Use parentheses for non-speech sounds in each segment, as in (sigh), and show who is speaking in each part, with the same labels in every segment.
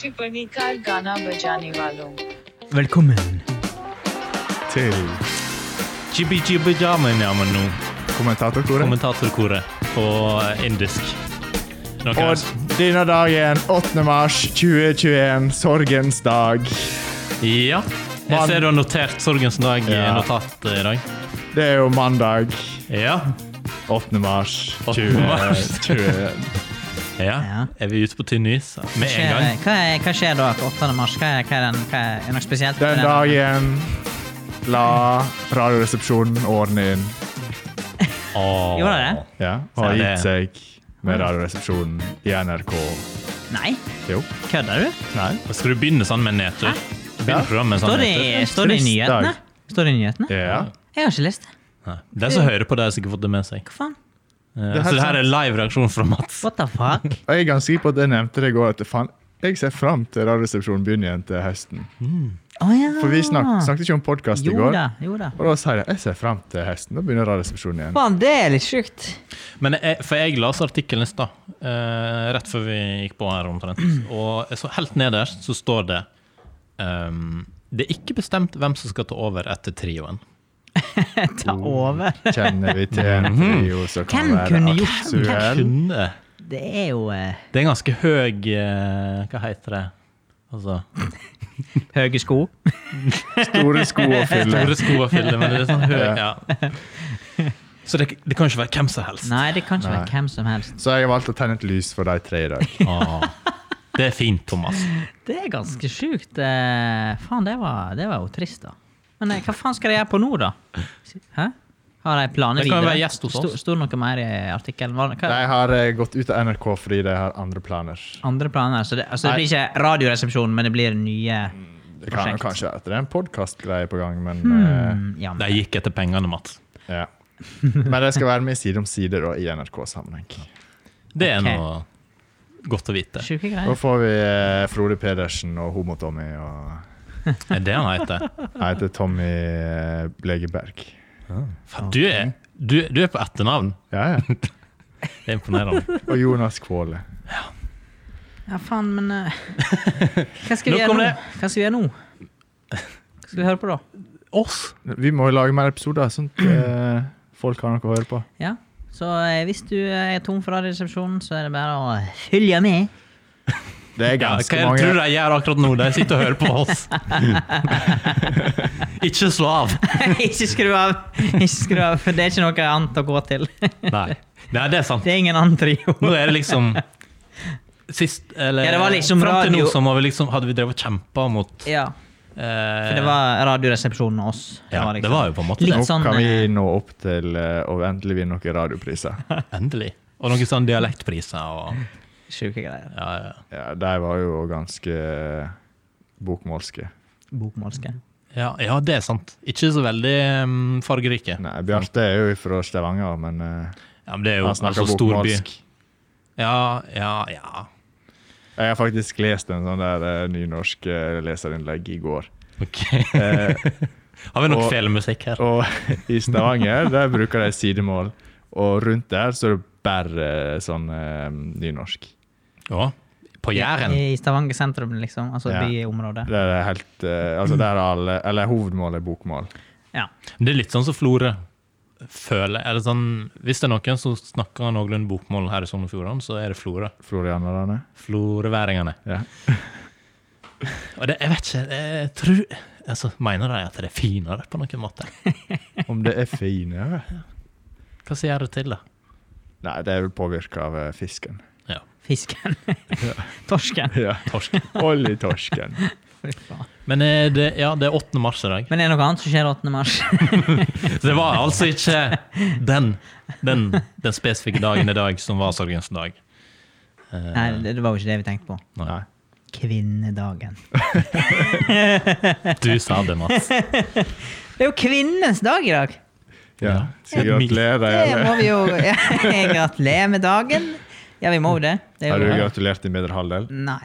Speaker 1: टिप्पणीकार गाना बजाने वालों
Speaker 2: Velkommen.
Speaker 3: til
Speaker 4: Jibbi jibbi jamen jamen nå.
Speaker 3: kommentatorkoret.
Speaker 4: Kommentatorkoret på indisk. Noe
Speaker 3: Og denne dagen, 8. mars 2021, sorgens dag.
Speaker 4: Ja. Jeg
Speaker 3: Man-
Speaker 4: ser du har notert Sorgens dag i
Speaker 3: Ja.
Speaker 4: notat eh, i dag.
Speaker 3: Det er jo mandag.
Speaker 4: Ja.
Speaker 3: 8. mars
Speaker 4: (laughs) 8. mars.
Speaker 3: 2021.
Speaker 4: ja. Er vi ute på tynn is med en
Speaker 2: Skjer,
Speaker 4: gang?
Speaker 2: hva, er, hva skjer da 8. mars? Hva er, hva er, den, hva er, er det noe spesielt? med
Speaker 3: Den
Speaker 2: den?
Speaker 3: dagen la Radioresepsjonen årene inn.
Speaker 4: Åh.
Speaker 2: Gjorde det?
Speaker 3: Ja, og har
Speaker 4: Ja,
Speaker 3: gitt
Speaker 4: det-
Speaker 3: seg med Radioresepsjonen i NRK.
Speaker 2: Nei,
Speaker 3: Jo.
Speaker 2: kødder du?
Speaker 3: Nei.
Speaker 4: Skal du begynne sånn med en nedtur?
Speaker 3: Ja.
Speaker 4: Begynne programmet med sånn
Speaker 2: Står det, i-
Speaker 4: nedtur?
Speaker 2: står det i
Speaker 3: Trist
Speaker 2: nyhetene?
Speaker 3: dag.
Speaker 2: Står det i nyhetene?
Speaker 3: Ja.
Speaker 2: Jeg har ikke lest det.
Speaker 4: Nei. De som hører på det, har sikkert fått det med seg.
Speaker 2: Hva faen?
Speaker 4: Eh,
Speaker 3: er
Speaker 4: Så
Speaker 3: helt
Speaker 4: det her er live reaksjon fra Mats.
Speaker 2: What the fuck?
Speaker 3: Og jeg er ganske sikker på at jeg nevnte det i går. at det faen, Jeg ser fram til Radioresepsjonen begynner igjen til høsten.
Speaker 2: Å ja.
Speaker 3: For vi snak, snakket ikke om podkast i
Speaker 2: Ah. Jo
Speaker 3: går.
Speaker 2: da, jo da.
Speaker 3: Og da sier jeg jeg ser fram til høsten. Da begynner Radioresepsjonen igjen.
Speaker 2: Faen, det er litt sjukt.
Speaker 4: Men jeg, for jeg leste artikkelen i stad, eh, rett før vi gikk på her omtrent. Og jeg så helt nederst så står det ehm, Det er ikke bestemt hvem som skal ta over etter trioen.
Speaker 2: Ta over.
Speaker 3: Oh, (laughs) Kjenner vi til en trio som kan
Speaker 2: Hvem kunne
Speaker 3: være
Speaker 2: gjort det?
Speaker 3: aktuell?
Speaker 4: Kunne
Speaker 2: Det er jo eh,
Speaker 4: Det er en ganske høy eh, Hva heter det? Altså
Speaker 2: høye sko.
Speaker 4: (laughs)
Speaker 3: Store sko å fylle.
Speaker 4: Store sko å fylle, men det er sånn høy ja.
Speaker 3: Ja.
Speaker 4: Så det, det kan ikke være hvem som helst.
Speaker 2: Nei, det kan ikke være
Speaker 3: Nei.
Speaker 2: hvem som helst.
Speaker 3: Så jeg har valgt å tenne et lys for de tre i dag.
Speaker 4: Ah, det er fint, Thomas.
Speaker 2: Det er ganske sjukt. eh, Faen, det var, det var jo trist, da. Men eh, hva faen skal de gjøre på nå, da? Hæ? Har de planer
Speaker 4: Det kan
Speaker 2: videre?
Speaker 4: være gjest hos oss.
Speaker 2: Sto, sto noe mer i artikkelen? Var det-
Speaker 3: De
Speaker 2: Hva,
Speaker 3: har eh, gått ut av NRK fordi de har andre planer.
Speaker 2: andre planer? Så det, altså, det
Speaker 3: Nei.
Speaker 2: blir ikke Radioresepsjonen, men det blir nye
Speaker 4: Mm.
Speaker 3: Det kan jo
Speaker 2: Prosjekt.
Speaker 3: kanskje være at det er en podkastgreie på gang, men
Speaker 2: mm, ja,
Speaker 4: De
Speaker 2: men,
Speaker 4: gikk etter pengene, Mats.
Speaker 3: eh, ja. Men de skal være med side om side da, i NRK-sammenheng.
Speaker 4: Det er
Speaker 2: Ok.
Speaker 4: noe godt å vite.
Speaker 2: Sjuke
Speaker 3: Da
Speaker 2: greier.
Speaker 3: får vi eh, Frode Pedersen og Homo-Tommy og
Speaker 4: Er det han heter?
Speaker 3: Jeg heter Tommy eh, Blegeberg.
Speaker 4: Faen, Du er, du, du er på etternavn.
Speaker 3: Ja, ja.
Speaker 4: Det er imponerende.
Speaker 3: Og Jonas Kvåle.
Speaker 2: Ja, faen,
Speaker 4: (laughs)
Speaker 2: men eh, Hva skal vi
Speaker 4: Nok
Speaker 2: gjøre
Speaker 4: om
Speaker 2: nå?
Speaker 4: det.
Speaker 2: Hva skal vi gjøre nå? Hva skal vi høre på, da?
Speaker 4: Oss?
Speaker 3: Vi må jo lage mer episoder, sånn at eh, folk har noe å høre på.
Speaker 2: Ja. Så eh, hvis du eh, er tom for Radioresepsjonen, så er det bare å følge med. (laughs)
Speaker 3: Det er
Speaker 4: Ja, hva
Speaker 3: ganske
Speaker 4: er det
Speaker 3: mange
Speaker 4: tror du de gjør akkurat nå? De sitter og hører på oss. (laughs) ikke slå av.
Speaker 2: ikke skru av! Ikke skru av, for det er ikke noe annet å gå til. (laughs)
Speaker 4: Nei. Nei, det er sant.
Speaker 2: Det er ingen annen trio.
Speaker 4: Nå er det liksom Sist, eller
Speaker 2: Ja, det var liksom
Speaker 4: Fram til
Speaker 2: radio.
Speaker 4: nå så må vi liksom, hadde vi drevet og kjempa mot
Speaker 2: Ja,
Speaker 4: eh,
Speaker 2: for det var Radioresepsjonen og oss.
Speaker 4: ja,
Speaker 2: liksom-
Speaker 4: det var jo på en måte
Speaker 2: Litt
Speaker 3: Nå
Speaker 2: sånn,
Speaker 3: kan
Speaker 2: eh,
Speaker 3: vi nå opp til eh, å endelig vinne noen
Speaker 4: (laughs)
Speaker 3: radiopriser.
Speaker 4: Endelig. Og noen sånn dialektpriser og
Speaker 2: Sjuke greier.
Speaker 4: ja, ja.
Speaker 3: Ja, de var jo ganske eh, bokmålske.
Speaker 2: Bokmålske.
Speaker 4: ja, ja, det er sant. Ikke så veldig mm, fargerike.
Speaker 3: Nei, Bjarte er jo fra Stavanger, men eh,
Speaker 4: Ja, men det er jo
Speaker 3: han snakker
Speaker 4: altså storby.
Speaker 3: bokmålsk.
Speaker 4: Ja, ja, ja.
Speaker 3: Jeg har faktisk lest en sånn der eh, nynorsk eh, leserinnlegg i går.
Speaker 4: Ok.
Speaker 3: Eh,
Speaker 4: (laughs) Har vi nok
Speaker 3: Og-
Speaker 4: felemusikk her?
Speaker 3: og (laughs) i Stavanger der bruker de sidemål, og rundt der så er det bare sånn eh, nynorsk.
Speaker 4: Ja. På Jæren?
Speaker 2: I Stavanger sentrum, liksom. Altså
Speaker 3: Ja.
Speaker 2: byområdet.
Speaker 3: Der er helt, eh, altså der er alle, eller hovedmålet er bokmål.
Speaker 2: Ja.
Speaker 4: Det er litt sånn som Florø føler Eller sånn, Hvis det er noen som snakker noenlunde bokmål her i Sogn og Fjordane, så er det Florø.
Speaker 3: Florianerne.
Speaker 4: Florøværingene.
Speaker 3: Ja.
Speaker 4: Og det, jeg vet ikke jeg tror, altså, Mener de at det er finere på noen måte?
Speaker 3: Om det er finere?
Speaker 4: Hva sier det til, da?
Speaker 3: Nei, det er vel påvirka av eh, fisken.
Speaker 4: Ja,
Speaker 2: Fisken. (laughs) Torsken.
Speaker 3: Ja.
Speaker 4: torsk.
Speaker 3: Oljetorsken.
Speaker 2: Fy faen.
Speaker 4: Men eh, det, ja, det er 8. mars i dag.
Speaker 2: Men er det noe annet som skjer 8. (laughs) mars?
Speaker 4: Så det var altså ikke (laughs) den, den, den spesifikke dagen i dag som var sorgens dag. Eh,
Speaker 2: Nei, det det var jo ikke det vi tenkte på.
Speaker 4: nei.
Speaker 3: Nei.
Speaker 2: Kvinnedagen.
Speaker 4: Du sa det, Mats.
Speaker 2: Det er jo kvinnens dag i dag!
Speaker 3: Ja.
Speaker 4: Ja.
Speaker 3: Skal vi gratulere deg,
Speaker 2: Det
Speaker 3: eller?
Speaker 2: må vi (laughs) jo Gratulerer med dagen. Ja, vi må jo det. det er
Speaker 3: Har du
Speaker 2: jo,
Speaker 3: gratulert din bedre halvdel?
Speaker 2: nei.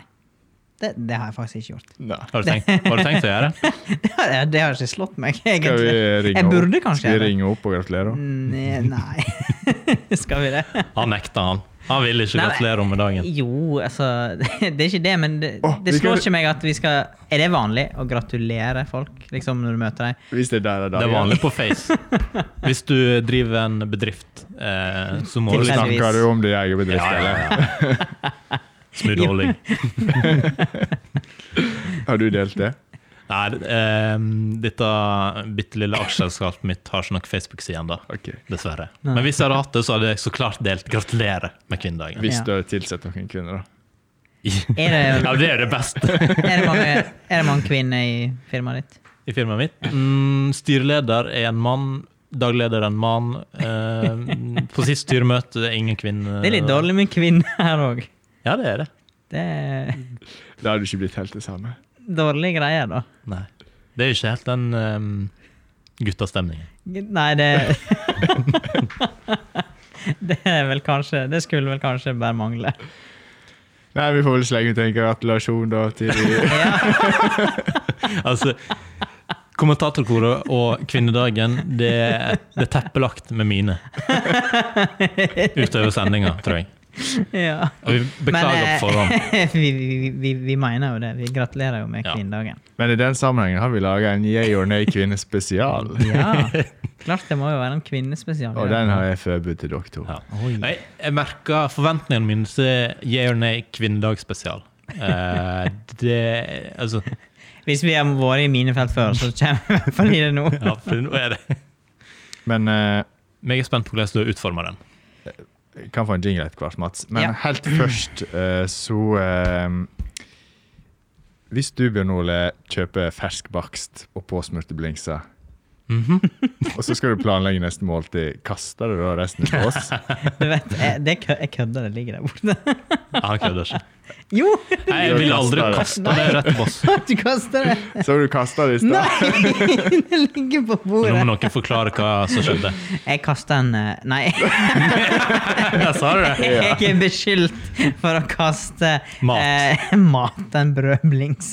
Speaker 2: Det, det har jeg faktisk ikke gjort. (laughs)
Speaker 3: Nei.
Speaker 4: Har du tenkt, har du tenkt å gjøre det?
Speaker 2: Det har, det har ikke slått meg,
Speaker 3: Skal vi
Speaker 2: egentlig.
Speaker 3: ringe
Speaker 2: Jeg
Speaker 3: opp?
Speaker 2: burde kanskje
Speaker 3: Skal vi
Speaker 2: gjøre det.
Speaker 3: ringe opp og gratulere? henne?
Speaker 2: Nei. (laughs) Skal vi det?
Speaker 4: Han nekta, han. Han ville ikke
Speaker 2: Nei,
Speaker 4: gratulere henne med dagen.
Speaker 2: Jo, altså (laughs) Det er ikke det, men det,
Speaker 3: Åh,
Speaker 2: det
Speaker 3: vi
Speaker 2: slår
Speaker 3: kan-
Speaker 2: ikke meg at vi skal Er det vanlig å gratulere folk liksom når du møter dem?
Speaker 3: Hvis det er der og da.
Speaker 4: Det er vanlig på Face. Hvis du driver en bedrift, eh, så må du
Speaker 2: Tilfeldigvis.
Speaker 4: liksom
Speaker 3: Snakker du om du eier bedrift,
Speaker 4: Ja, ja,
Speaker 3: eller?
Speaker 4: Smoothholding.
Speaker 3: Har du delt det?
Speaker 4: Nei, eh, dette bitte lille aksjeselskapet mitt har ikke nok Facebook-side ennå,
Speaker 3: Ok.
Speaker 4: dessverre. Men hvis jeg hadde hatt det, så hadde jeg så klart delt 'gratulerer med kvinnedagen'.
Speaker 3: Hvis
Speaker 2: Ja.
Speaker 3: du har tilsett noen kvinner, da.
Speaker 2: Er det-
Speaker 4: (laughs) Ja, det er det beste
Speaker 2: Er det mange, er det mange kvinner i firmaet ditt?
Speaker 4: i firmaet mitt. Mm, styreleder er en mann. Dagleder er en mann. Eh, på sist styremøte er det ingen kvinne.
Speaker 2: Det er litt dårlig med kvinner her òg.
Speaker 4: Ja, det er det.
Speaker 2: Det er
Speaker 3: Da hadde du ikke blitt helt det samme.
Speaker 2: dårlige greier, da.
Speaker 4: Nei. Det er jo ikke helt den eh, guttastemningen.
Speaker 2: Nei, det (laughs) Det er vel kanskje Det skulle vel kanskje bare mangle.
Speaker 3: Nei, vi får vel slenge ut en gratulasjon da til
Speaker 2: Ja,
Speaker 4: Altså, kommentatorkoret og kvinnedagen, det, det er teppelagt med mine. Utover sendinga, tror jeg.
Speaker 2: (laughs) ja.
Speaker 4: Og vi beklager
Speaker 2: Men, eh,
Speaker 4: på
Speaker 2: (laughs)
Speaker 4: forhånd.
Speaker 2: vi, vi, vi, vi mener jo det. Vi gratulerer jo med
Speaker 4: Ja.
Speaker 2: kvinnedagen.
Speaker 3: Men i den sammenhengen har vi laga en yay or nay kvinne spesial.
Speaker 2: Ja. Klart det må jo være en kvinnespesial.
Speaker 3: Og den har jeg forberedt til dere to.
Speaker 4: Ja. Jeg, jeg merker forventningene mine til Yeah or Nay kvinnedagsspesial. Eh, det Altså,
Speaker 2: Hvis vi har vært i minefelt før, så kommer vi i hvert fall i det nå.
Speaker 4: ja, for nå er det
Speaker 3: Men eh,
Speaker 4: Men Jeg er spent på hvordan du utformer den.
Speaker 3: Jeg kan få en jingle etter hvert, Mats. Men
Speaker 2: Ja.
Speaker 3: helt først eh, så eh, Hvis du, Bjørn Ole, kjøper fersk bakst og påsmurte blingser, og så skal du planlegge neste måltid, kaster du da resten på oss?
Speaker 2: Du vet, jeg, det kø, jeg kødder, det ligger der borte.
Speaker 4: Ja, Han kødder ikke.
Speaker 2: Jo! (laughs)
Speaker 4: Nei, jeg vil aldri kaste det rett til boss.
Speaker 2: Du kaster det!
Speaker 3: Så du kasta det i stad?
Speaker 2: Nei! Det ligger på
Speaker 4: Nå må
Speaker 2: bordet.
Speaker 4: noen forklare hva som
Speaker 2: (laughs)
Speaker 4: skjedde.
Speaker 2: Jeg kasta en eh, Nei, (laughs)
Speaker 4: Ja, sa du det?
Speaker 2: jeg er beskyldt for å kaste
Speaker 4: Mat.
Speaker 2: eh, (laughs) mat en brødblings.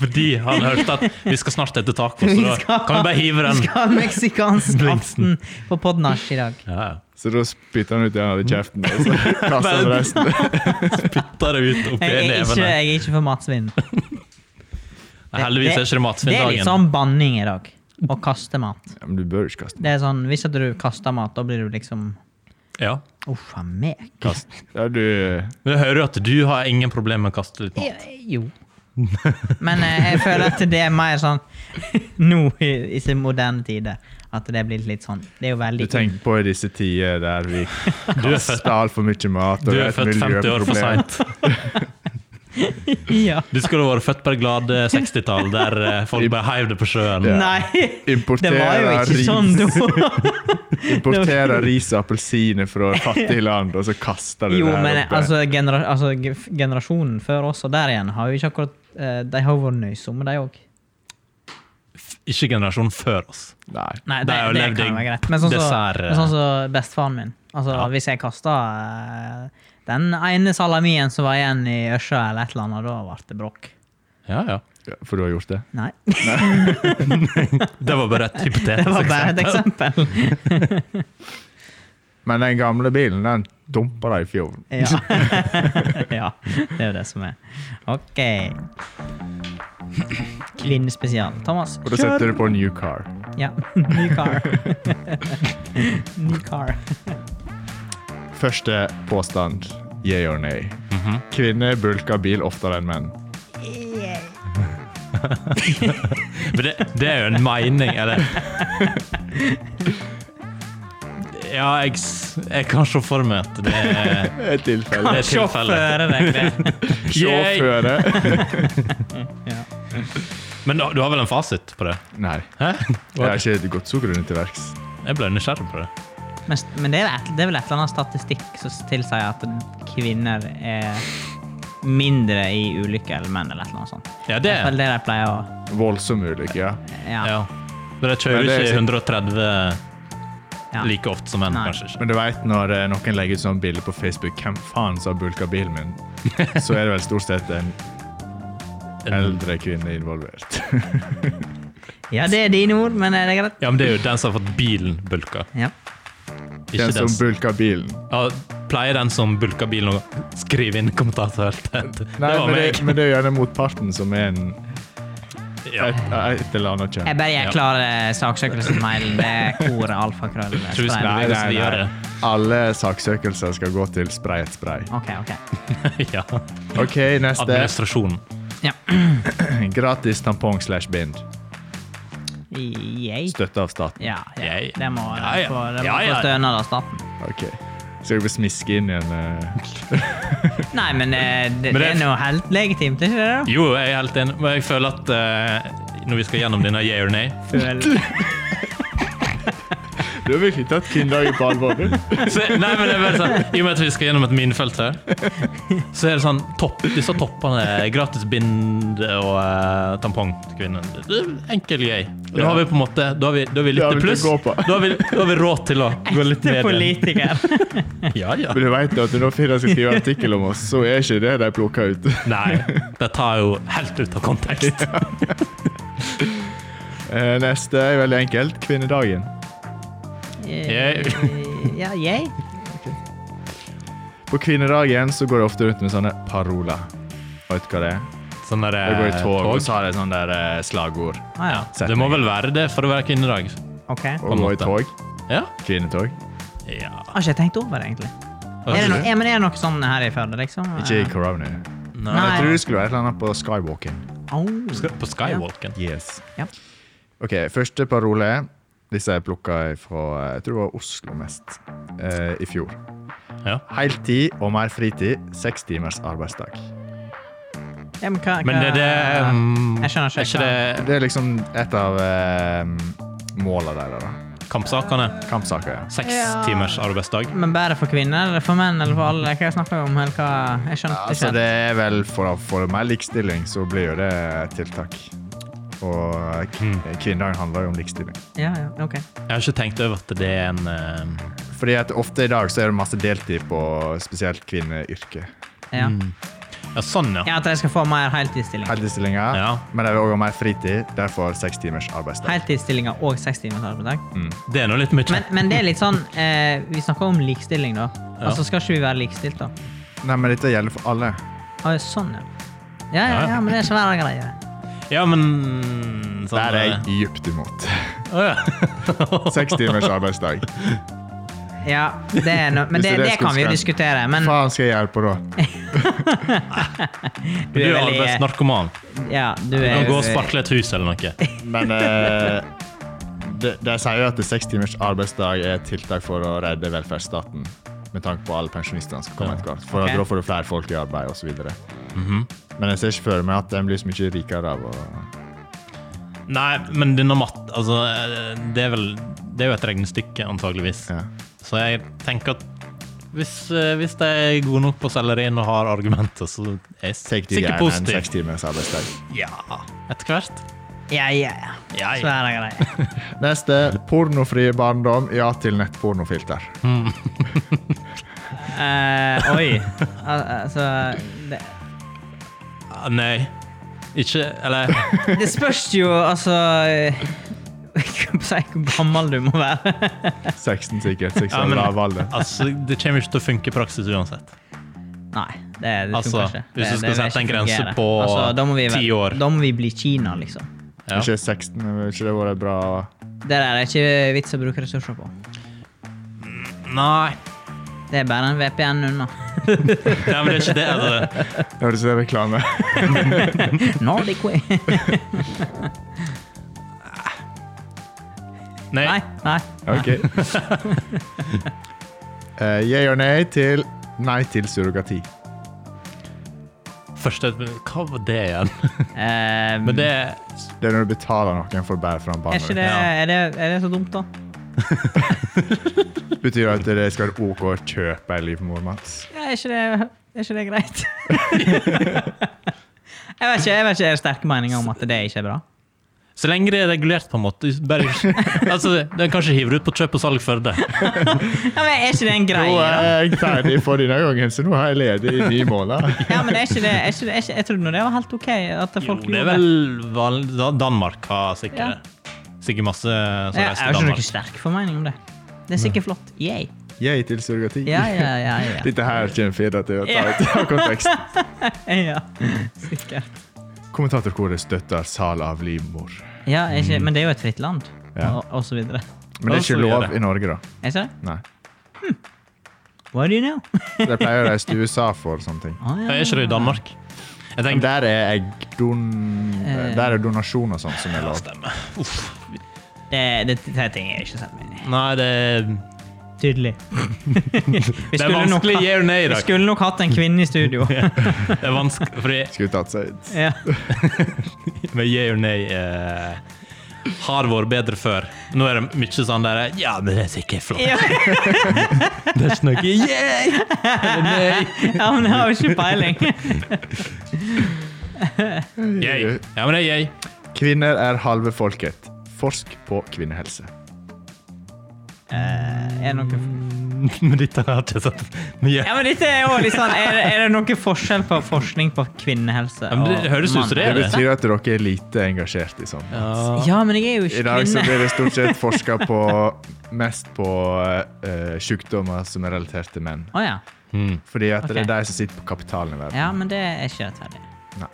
Speaker 4: Fordi han hørte at vi skal snart hete taco, så
Speaker 2: Vi
Speaker 4: da
Speaker 2: skal-
Speaker 4: kan vi bare hive
Speaker 2: Vi
Speaker 4: den.
Speaker 2: (laughs) skal ha meksikansk
Speaker 4: Blingsen.
Speaker 2: aften på Podnasj i dag.
Speaker 4: Ja, ja.
Speaker 3: Så da spytter han ut den av kjeften, og så kaster han
Speaker 4: Men-
Speaker 3: resten.
Speaker 4: Putter det ut oppi
Speaker 2: Jeg er ikke,
Speaker 4: nevene.
Speaker 2: jeg er ikke for matsvinn.
Speaker 4: Heldigvis er ikke det
Speaker 2: Det er litt
Speaker 4: matsvinndagen.
Speaker 2: sånn banning i dag. Å kaste mat.
Speaker 3: Ja, men du bør jo ikke kaste.
Speaker 2: Det er sånn, Hvis at du kaster mat, da blir du liksom
Speaker 4: Ja.
Speaker 2: Uff a meg. (laughs)
Speaker 3: Kast. Ja, du
Speaker 4: Men jeg hører jo at du har ingen problemer med å kaste litt mat.
Speaker 2: Eh, Jo. Men eh, jeg føler at det er mer sånn (laughs) nå i, i sin moderne tider. At det er blitt litt sånn. Det er jo
Speaker 3: du
Speaker 2: veldig
Speaker 3: tenker på i disse tider der vi
Speaker 4: (laughs) Du er født,
Speaker 3: kaster altfor mye mat. og
Speaker 4: du
Speaker 3: det
Speaker 4: er
Speaker 3: et
Speaker 4: født 50 år for
Speaker 3: miljøproblem.
Speaker 4: seint.
Speaker 2: (laughs) Ja.
Speaker 4: Du skulle vært født på det glade 60-tall, der eh, folk bare heiv det på sjøen.
Speaker 3: Ja.
Speaker 2: Nei! (laughs) Det var jo
Speaker 3: Importerer
Speaker 2: ikke
Speaker 3: ris.
Speaker 2: sånn
Speaker 3: (laughs)
Speaker 2: da.
Speaker 3: Importerer ris og appelsiner fra
Speaker 2: (laughs)
Speaker 3: fattige land, og så kaster du
Speaker 2: Jo,
Speaker 3: det her
Speaker 2: men
Speaker 3: oppe.
Speaker 2: altså, genera altså, g- f- generasjonen før oss og der igjen har jo ikke akkurat eh, De har jo vært nøysomme, de òg.
Speaker 4: Ikke generasjonen før oss.
Speaker 3: Nei.
Speaker 2: Nei,
Speaker 4: Det
Speaker 2: det,
Speaker 4: er jo
Speaker 2: det
Speaker 4: levd
Speaker 2: kan
Speaker 4: i
Speaker 2: være greit. Men sånn som
Speaker 4: dessert, eh.
Speaker 2: så, sånn som bestefaren min. Altså,
Speaker 4: Ja.
Speaker 2: Hvis jeg kasta eh, den ene salamien som var igjen i Ørsa eller et eller annet, da ble det bråk.
Speaker 4: Ja, ja.
Speaker 3: Ja, For du har gjort det?
Speaker 2: Nei, (laughs)
Speaker 4: Det var bare et
Speaker 2: det
Speaker 4: hypotetisk
Speaker 2: var bare et
Speaker 4: eksempel.
Speaker 2: eksempel.
Speaker 3: Men den gamle bilen, den dumpa deg i fjorden.
Speaker 2: Ja. (laughs) ja, det er jo det som er. OK. Kvinnespesial. Thomas,
Speaker 3: (laughs) Og da setter du på new car.
Speaker 2: Ja. (laughs) Ny car. Ny car.
Speaker 3: Første påstand. Yeah or nay.
Speaker 4: Mhm.
Speaker 3: Kvinner bulker bil oftere enn menn.
Speaker 4: For det, det er jo en mening, eller Ja, jeg, s- jeg kan se for meg at det er
Speaker 3: Det er et tilfelle.
Speaker 4: Det er tilfellet.
Speaker 2: Sjåfører, egentlig.
Speaker 4: Yay!
Speaker 3: Sjåføre.
Speaker 2: Ja.
Speaker 4: Men du, du har vel en fasit på det?
Speaker 3: Nei,
Speaker 4: Hæ?
Speaker 3: jeg har ikke gått så grundig til verks.
Speaker 4: Jeg ble nysgjerrig på det.
Speaker 2: (laughs) Men, men det, er et, det er vel et eller annet statistikk som tilsier at kvinner er mindre i ulykker enn menn, eller et eller annet sånt.
Speaker 4: Ja, det
Speaker 2: Det er vel det de pleier å
Speaker 3: Voldsom ulykke, ja.
Speaker 2: Ja.
Speaker 4: ja. Men de kjører
Speaker 3: Men det
Speaker 4: jo
Speaker 3: er
Speaker 4: ikke
Speaker 3: sikkert-
Speaker 4: 130
Speaker 2: ja.
Speaker 4: like ofte som menn,
Speaker 2: Nei.
Speaker 4: kanskje ikke.
Speaker 3: Men du veit når eh, noen legger ut sånn bilde på Facebook 'Hvem faen som har bulka
Speaker 4: (laughs)
Speaker 3: bilen min?' Så er det vel stort sett en eldre kvinne involvert.
Speaker 2: ja, det er dine ord, men er det greit?
Speaker 4: Ja, men det er jo den som har fått bilen bulka.
Speaker 2: Ja.
Speaker 4: Ikke
Speaker 3: (laughs) Den
Speaker 4: den
Speaker 3: som
Speaker 4: som
Speaker 3: bulker bilen.
Speaker 4: ja, pleier den som bulker bilen å skrive inn kommentarfeltet. Det
Speaker 3: Nei,
Speaker 4: var
Speaker 3: men det,
Speaker 4: meg.
Speaker 3: men det er gjerne motparten som er en,
Speaker 4: Ja.
Speaker 3: et, et eller annet kjønn.
Speaker 2: Jeg bare jeg klarer saksøkelsesmailen. Det er koret alfakrøll.
Speaker 4: (laughs) Tusen
Speaker 2: stein.
Speaker 4: takk. hvis vi gjør det.
Speaker 3: Alle saksøkelser skal gå til Spray et spray.
Speaker 2: Ok, ok.
Speaker 4: (laughs) ja.
Speaker 3: OK, neste.
Speaker 4: Administrasjonen.
Speaker 2: Ja.
Speaker 3: Gratis tampong slash bind.
Speaker 2: Yay.
Speaker 3: Støtte av staten.
Speaker 2: Ja, ja.
Speaker 4: Yay.
Speaker 2: Det må
Speaker 4: Ja, ja.
Speaker 2: få det må
Speaker 4: Ja, ja.
Speaker 2: få stønad av staten.
Speaker 3: Ok. Så jeg vil smiske inn igjen eh,
Speaker 2: Nei, men eh, det,
Speaker 4: Men
Speaker 2: det
Speaker 4: det-
Speaker 2: er nå helt legitimt, ikke det? da?
Speaker 4: Jo, jeg er helt enig, men jeg føler at eh, når vi skal gjennom denne yeah or nay
Speaker 2: Føl-
Speaker 3: Du har virkelig tatt kvinnedagen på
Speaker 4: (laughs)
Speaker 3: alvor. du.
Speaker 4: så, Nei, men det er bare sånn I og med at vi skal gjennom et minefelt her, så er det sånn topp, Disse toppene er gratis bind og eh, tampong til kvinnen. Det er Enkel yay. Og Da har vi på en måte Da har vi, da har vi
Speaker 3: Det har
Speaker 4: litt i
Speaker 3: vi
Speaker 4: pluss.
Speaker 3: til å gå
Speaker 4: Da
Speaker 3: på.
Speaker 4: har vi, da har vi råd til å gå
Speaker 2: (laughs)
Speaker 4: litt
Speaker 2: Til
Speaker 4: ned igjen.
Speaker 2: politiker.
Speaker 4: (laughs) Ja, ja.
Speaker 3: Men du vet at når Firda skal skrive artikkel om oss, så er ikke det de plukker ut.
Speaker 4: Nei, det tar jo helt ut av kontekst.
Speaker 3: Eh, Neste er veldig enkelt. Kvinnedagen.
Speaker 2: Eh, (laughs) Ja, yay.
Speaker 3: På kvinnedagen så går jeg ofte rundt med sånne paroler. Vet du hva det er?
Speaker 4: Sånn der,
Speaker 3: Jeg går i
Speaker 4: eh,
Speaker 3: tog, og så har jeg sånne der eh, slagord.
Speaker 2: Ah, ja.
Speaker 4: Det må vel være det for å være kvinnedag.
Speaker 2: Ok. Har
Speaker 3: Og gå i
Speaker 4: måte.
Speaker 3: tog.
Speaker 4: Ja.
Speaker 3: Kvinnetog.
Speaker 4: ja.
Speaker 2: ikke jeg tenkt over det, egentlig. Er det, no er, men er det noe sånn her i Førde, liksom?
Speaker 3: Ikke i corona.
Speaker 4: Nei.
Speaker 3: Jeg tror det skulle være et eller annet på skywalking.
Speaker 2: Au.
Speaker 4: På Skywalken.
Speaker 3: Yes.
Speaker 2: Ja.
Speaker 3: Ok, første parole. Disse jeg plukka fra eh, jeg tror det var Oslo mest eh, i fjor.
Speaker 4: Ja.
Speaker 3: Heltid og mer fritid. Seks timers arbeidsdag.
Speaker 2: Ja, men hva, hva
Speaker 4: Men er det um,
Speaker 2: Jeg skjønner ikke
Speaker 4: Er ikke det
Speaker 3: Det er liksom et av eh, måla deres. da.
Speaker 4: kampsakene?
Speaker 3: Kampsaker. ja.
Speaker 4: Seks
Speaker 2: Ja.
Speaker 4: timers arbeidsdag?
Speaker 2: Men bare for kvinner, eller for menn, eller for alle? Hva jeg snakker om? Eller hva? Jeg skjønte
Speaker 3: Altså,
Speaker 2: ikke.
Speaker 3: det er vel for, for mer likestilling, så blir jo det et tiltak. Og eh, k-
Speaker 4: Mm.
Speaker 3: kvinnedagen handler jo om likestilling.
Speaker 2: Ja, ja, ok.
Speaker 4: Jeg har ikke tenkt over at det er en eh,
Speaker 3: Fordi at ofte i dag så er det masse deltid på spesielt kvinneyrket.
Speaker 2: Ja,
Speaker 4: Mm. Ja, sånn, ja.
Speaker 2: ja At de skal få mer heltidsstillinger.
Speaker 3: Heltidsstillinger,
Speaker 4: Ja.
Speaker 3: men de vil òg ha mer fritid. Derfor seks timers arbeidsdag.
Speaker 2: Heltidsstillinger og seks timers arbeidsdag.
Speaker 4: Det er nå litt mye.
Speaker 2: Men, men det er litt sånn eh, Vi snakker om likestilling, da.
Speaker 4: Ja.
Speaker 2: Altså, skal ikke vi være likestilt, da?
Speaker 3: Nei, men dette gjelder for alle.
Speaker 2: Ah, sånn, ja. Ja, ja,
Speaker 4: Ja, ja.
Speaker 2: ja, men det er svære greier.
Speaker 4: Ja, men sånn,
Speaker 3: Der er
Speaker 4: eh,
Speaker 3: jeg dypt imot. (laughs)
Speaker 4: å, ja.
Speaker 3: Seks timers arbeidsdag.
Speaker 2: Ja, det er no, men
Speaker 3: Hvis
Speaker 2: det,
Speaker 3: det er
Speaker 2: det kan vi
Speaker 3: skogsgrønn.
Speaker 2: jo diskutere. Men
Speaker 3: Faen skal jeg hjelpe, da?
Speaker 4: Du
Speaker 2: Vi er
Speaker 4: er
Speaker 2: veldig-
Speaker 4: arbeidsnarkoman.
Speaker 2: ja,
Speaker 4: Du
Speaker 2: du er
Speaker 4: kan gå og sparkle et hus eller noe.
Speaker 3: Men eh, de, de sier jo at seks timers arbeidsdag er et tiltak for å redde velferdsstaten. Med tanke på alle pensjonistene som kommer
Speaker 4: Ja.
Speaker 3: etter hvert. For
Speaker 2: Ok.
Speaker 3: at Da får du flere folk i arbeid osv. videre Men jeg ser ikke for meg at de blir så mye rikere av å
Speaker 4: Nei, men denne matt... Altså, eh, det er vel Det er jo et regnestykke, antageligvis.
Speaker 3: ja.
Speaker 4: Så jeg tenker at hvis, eh, hvis de er gode nok på å selge det inn og har argumenter, så er jeg
Speaker 3: Take
Speaker 4: sikkert
Speaker 3: de gjerne en
Speaker 4: positiv.
Speaker 3: seks timers arbeidsdag.
Speaker 4: Ja, etter hvert.
Speaker 2: Ja, ja, ja.
Speaker 4: Ja, ja.
Speaker 2: Svære
Speaker 4: (laughs)
Speaker 2: greier.
Speaker 3: Neste. Pornofri barndom. Ja til nettpornofilter.
Speaker 2: Eh, oi. Al altså det,
Speaker 4: Ah, Nei. Ikke Eller
Speaker 2: det spørs jo, altså (laughs) eh, Hva skal jeg si, hvor gammel du må være.
Speaker 3: 16 sikkert. 16
Speaker 4: Ja, men-
Speaker 3: av alder.
Speaker 4: altså, Det kommer ikke til å funke i praksis uansett.
Speaker 2: Nei, det, det funker
Speaker 4: Altså,
Speaker 2: ikke.
Speaker 4: hvis du
Speaker 2: Det-
Speaker 4: skal
Speaker 2: det vil
Speaker 4: sette en
Speaker 2: ikke
Speaker 4: grense
Speaker 2: fungere.
Speaker 4: på
Speaker 2: da må vi være-
Speaker 4: 10 år.
Speaker 2: Da må vi bli Kina, liksom.
Speaker 4: Ja.
Speaker 3: Ikke 16, men ville ikke det vært bra?
Speaker 2: Det der er ikke vits å bruke ressurser på.
Speaker 4: Nei.
Speaker 2: Det er bare en VPN
Speaker 4: (laughs)
Speaker 2: unna.
Speaker 4: Nei, men det er ikke det.
Speaker 3: (laughs)
Speaker 4: Altså.
Speaker 3: Høres ut som reklame.
Speaker 2: Nordic way.
Speaker 4: Nei.
Speaker 2: Nei, nei.
Speaker 3: (laughs) Ok. Eh, Yay og nei til nei til surrogati.
Speaker 4: Første Hva var det igjen?
Speaker 2: Eh,
Speaker 4: Men det
Speaker 3: Det er når du betaler noen for å bære fram
Speaker 2: er, ikke det,
Speaker 3: barnet.
Speaker 4: Ja.
Speaker 2: er, det, er det så dumt, da?
Speaker 3: Det betyr det at det skal være OK å kjøpe en livmor, Mats.
Speaker 2: Ja, er, ikke det, er ikke det
Speaker 4: (laughs)
Speaker 2: greit? jeg vet ikke, jeg vet ikke, er det sterke meninger om at det ikke er bra?
Speaker 4: Så lenge det er regulert, på en måte. Bare,
Speaker 3: (laughs)
Speaker 4: altså, Den kan ikke hive det ut på kjøp og salg Førde.
Speaker 2: Ja, men Er ikke det en
Speaker 3: Nå
Speaker 2: greie? da?
Speaker 3: er jeg ferdig for denne gangen, så nå er jeg ledig i ni måneder.
Speaker 2: Ja, men er ikke det, er ikke det, er ikke, Jeg trodde nå det var helt OK at
Speaker 4: Jo,
Speaker 2: folk
Speaker 4: det er vel vanlig Da- Danmark har sikkert
Speaker 2: Ja.
Speaker 4: det. Sikkert masse som
Speaker 2: Jeg
Speaker 4: reiser
Speaker 2: har
Speaker 4: til
Speaker 2: ikke
Speaker 4: Danmark.
Speaker 2: noen sterk formening om det. Det er sikkert flott. Yay.
Speaker 3: Jeg til surrogati.
Speaker 2: Ja, ja, ja.
Speaker 4: (laughs)
Speaker 2: ja.
Speaker 3: Dette her kommer Fedra til å ta ut av konteksten.
Speaker 2: ja sikkert.
Speaker 3: Kommentatorkoret støtter sal av livmor.
Speaker 2: Ja, er ikke, men det er jo et fritt land,
Speaker 3: Ja.
Speaker 2: og, og så videre.
Speaker 3: Men det er
Speaker 4: Altså,
Speaker 3: ikke
Speaker 4: gjør
Speaker 3: lov
Speaker 4: det.
Speaker 3: i Norge, da.
Speaker 2: Er ikke det?
Speaker 3: Nei.
Speaker 2: What do you
Speaker 4: (laughs)
Speaker 2: know?
Speaker 3: De pleier å reise til USA for sånne ting.
Speaker 2: Ah,
Speaker 4: Jeg er ikke det i Danmark. Jeg
Speaker 3: Men
Speaker 4: tenker
Speaker 3: der er eggdon...
Speaker 2: Eh.
Speaker 3: Der er donasjon og sånn som er
Speaker 4: Ja,
Speaker 3: lov.
Speaker 4: stemmer. Uff.
Speaker 2: Det, det, det er ting jeg ikke setter meg inn i.
Speaker 4: Nei, det, (laughs)
Speaker 2: Tydelig. vi,
Speaker 4: det er
Speaker 2: skulle nok,
Speaker 4: vanskelig
Speaker 2: ha-
Speaker 4: ja og nei i
Speaker 2: vi
Speaker 4: dag.
Speaker 2: skulle nok hatt en kvinne
Speaker 4: (laughs)
Speaker 2: i studio.
Speaker 4: Det er vanskelig, fordi
Speaker 3: Skulle tatt seg ut.
Speaker 2: ja.
Speaker 4: med ja og nei eh, har vært bedre før. Nå er det mye sånn der Ja, men det er sikkert flott.
Speaker 2: (laughs) Ja.
Speaker 4: Det er ikke noe yeah! eller
Speaker 2: (laughs)
Speaker 4: nei.
Speaker 2: ja, men jeg har jo ikke
Speaker 4: (laughs)
Speaker 2: peiling.
Speaker 4: Yay. Ja, men det er yay.
Speaker 3: Kvinner er halve folket. Forsk på kvinnehelse.
Speaker 2: Eh, er det noe
Speaker 4: (laughs) Men dette har jeg ikke sett. Men ja.
Speaker 2: Ja, men dette er jo litt sånn Er det, er det noe forskjell på forskning på kvinnehelse
Speaker 4: Ja, men det
Speaker 2: og
Speaker 4: høres ut som det
Speaker 3: Det
Speaker 4: er
Speaker 2: mannhelse?
Speaker 3: betyr at dere er lite engasjert i sånn.
Speaker 4: Ja.
Speaker 2: Ja, men jeg er jo
Speaker 3: I
Speaker 2: ikke
Speaker 3: dag så
Speaker 2: kvinne.
Speaker 3: blir det stort sett forska på
Speaker 2: (laughs)
Speaker 3: mest på eh, sykdommer som er relatert til menn.
Speaker 2: Å ja.
Speaker 4: Mm.
Speaker 3: Fordi at det
Speaker 2: Ok.
Speaker 3: er de som sitter på kapitalen i verden.
Speaker 2: ja. Men det er ikke rettferdig.
Speaker 3: Nei.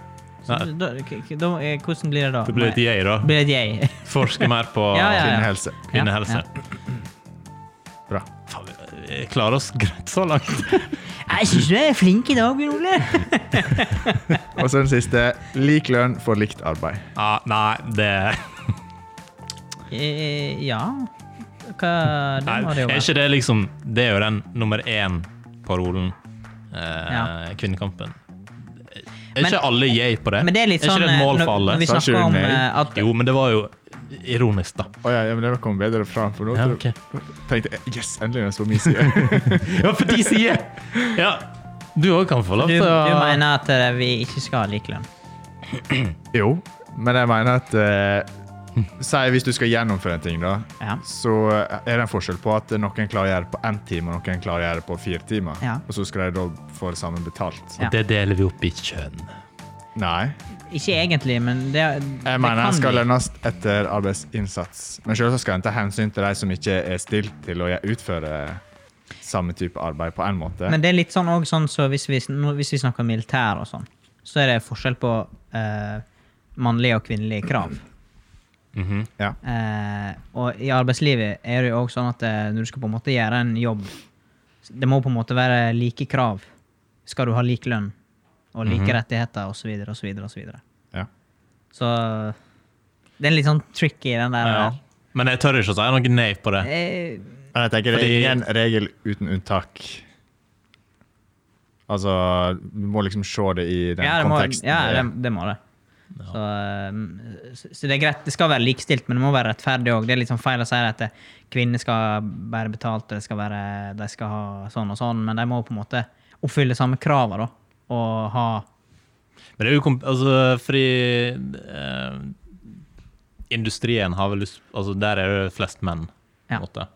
Speaker 2: Så da, k- k- da, eh, hvordan blir det da?
Speaker 4: Det blir et yay, da.
Speaker 2: Blir det et jeg? (laughs)
Speaker 4: Forske mer på
Speaker 2: Ja, ja.
Speaker 3: Kvinnehelse.
Speaker 4: kvinnehelse.
Speaker 2: Ja,
Speaker 3: Bra.
Speaker 4: Faen, vi klarer oss greit så langt.
Speaker 2: Jeg syns du er flink i dag, Bjørn Ole.
Speaker 3: Og så den siste. Lik lønn for likt arbeid.
Speaker 4: (laughs) Ja, nei, det
Speaker 2: Eh, ja Hva Det
Speaker 4: Nei,
Speaker 2: må det jo
Speaker 4: er
Speaker 2: være.
Speaker 4: ikke det liksom Det er jo den nummer én-parolen. Eh,
Speaker 2: Ja.
Speaker 4: Kvinnekampen. Er
Speaker 2: Men-
Speaker 4: ikke alle yay på det?
Speaker 2: Men det er litt sånn
Speaker 4: ikke det et mål
Speaker 2: eh,
Speaker 4: for alle?
Speaker 2: Når vi
Speaker 3: Sa ikke
Speaker 2: snakker
Speaker 3: du
Speaker 2: om
Speaker 3: nei?
Speaker 2: eh, at
Speaker 4: Jo, men det var jo ironisk, da.
Speaker 3: Å ja, ja, men det kom bedre fram. For nå
Speaker 4: Ja, ok.
Speaker 3: tenkte jeg yes, endelig er det på min side. (laughs)
Speaker 4: Ja, for de sier (laughs) Ja, du òg kan få lov
Speaker 2: du,
Speaker 4: til
Speaker 2: du
Speaker 4: å
Speaker 2: mener at eh, vi ikke skal ha lik lønn?
Speaker 3: jo, men jeg mener at eh, Si hvis du skal gjennomføre en ting, da.
Speaker 2: Ja.
Speaker 3: Så er det en forskjell på at noen klarer å gjøre det på én time, og noen klarer å gjøre det på fire timer.
Speaker 2: Ja.
Speaker 3: Og så skal de da få det samme betalt.
Speaker 2: Ja.
Speaker 4: Det deler vi opp i kjønn.
Speaker 3: Nei.
Speaker 2: Ikke egentlig, men det, det
Speaker 3: Jeg mener
Speaker 2: kan
Speaker 3: jeg skal
Speaker 2: vi.
Speaker 3: lønnes etter arbeidsinnsats. Men selvsagt skal en ta hensyn til de som ikke er stilt til å utføre samme type arbeid på en måte.
Speaker 2: Men det er litt sånn også sånn så hvis vi, nå- hvis vi snakker militær og sånn, så er det forskjell på eh, mannlige og kvinnelige krav.
Speaker 4: Mhm.
Speaker 3: ja.
Speaker 2: Eh, og i arbeidslivet er det jo også sånn at eh, når du skal på en måte gjøre en jobb, det må på en måte være like krav. Skal du ha lik lønn og
Speaker 3: Mhm.
Speaker 2: like rettigheter osv. osv. osv.
Speaker 3: Ja.
Speaker 2: Så det er litt sånn tricky, den der.
Speaker 4: Ja. Men jeg tør ikke å si noe nei på det.
Speaker 2: Eh,
Speaker 3: Men jeg tenker det
Speaker 4: Fordi-
Speaker 3: er ingen regel uten unntak. Altså, du må liksom se det i den
Speaker 2: ja, det må,
Speaker 3: konteksten.
Speaker 2: ja,
Speaker 3: det er.
Speaker 2: det, det må det. Så, eh, så- så det er greit, det skal være likestilt, men det må være rettferdig òg. Det er litt sånn feil å si at eh, kvinner skal være betalt, og det skal være, de skal ha sånn og sånn, men de må på en måte oppfylle samme kravet da, og ha
Speaker 4: Men det er jo kom- altså, fordi eh, Industrien har vel lyst Altså, der er det flest menn, på
Speaker 2: Ja.
Speaker 4: en måte.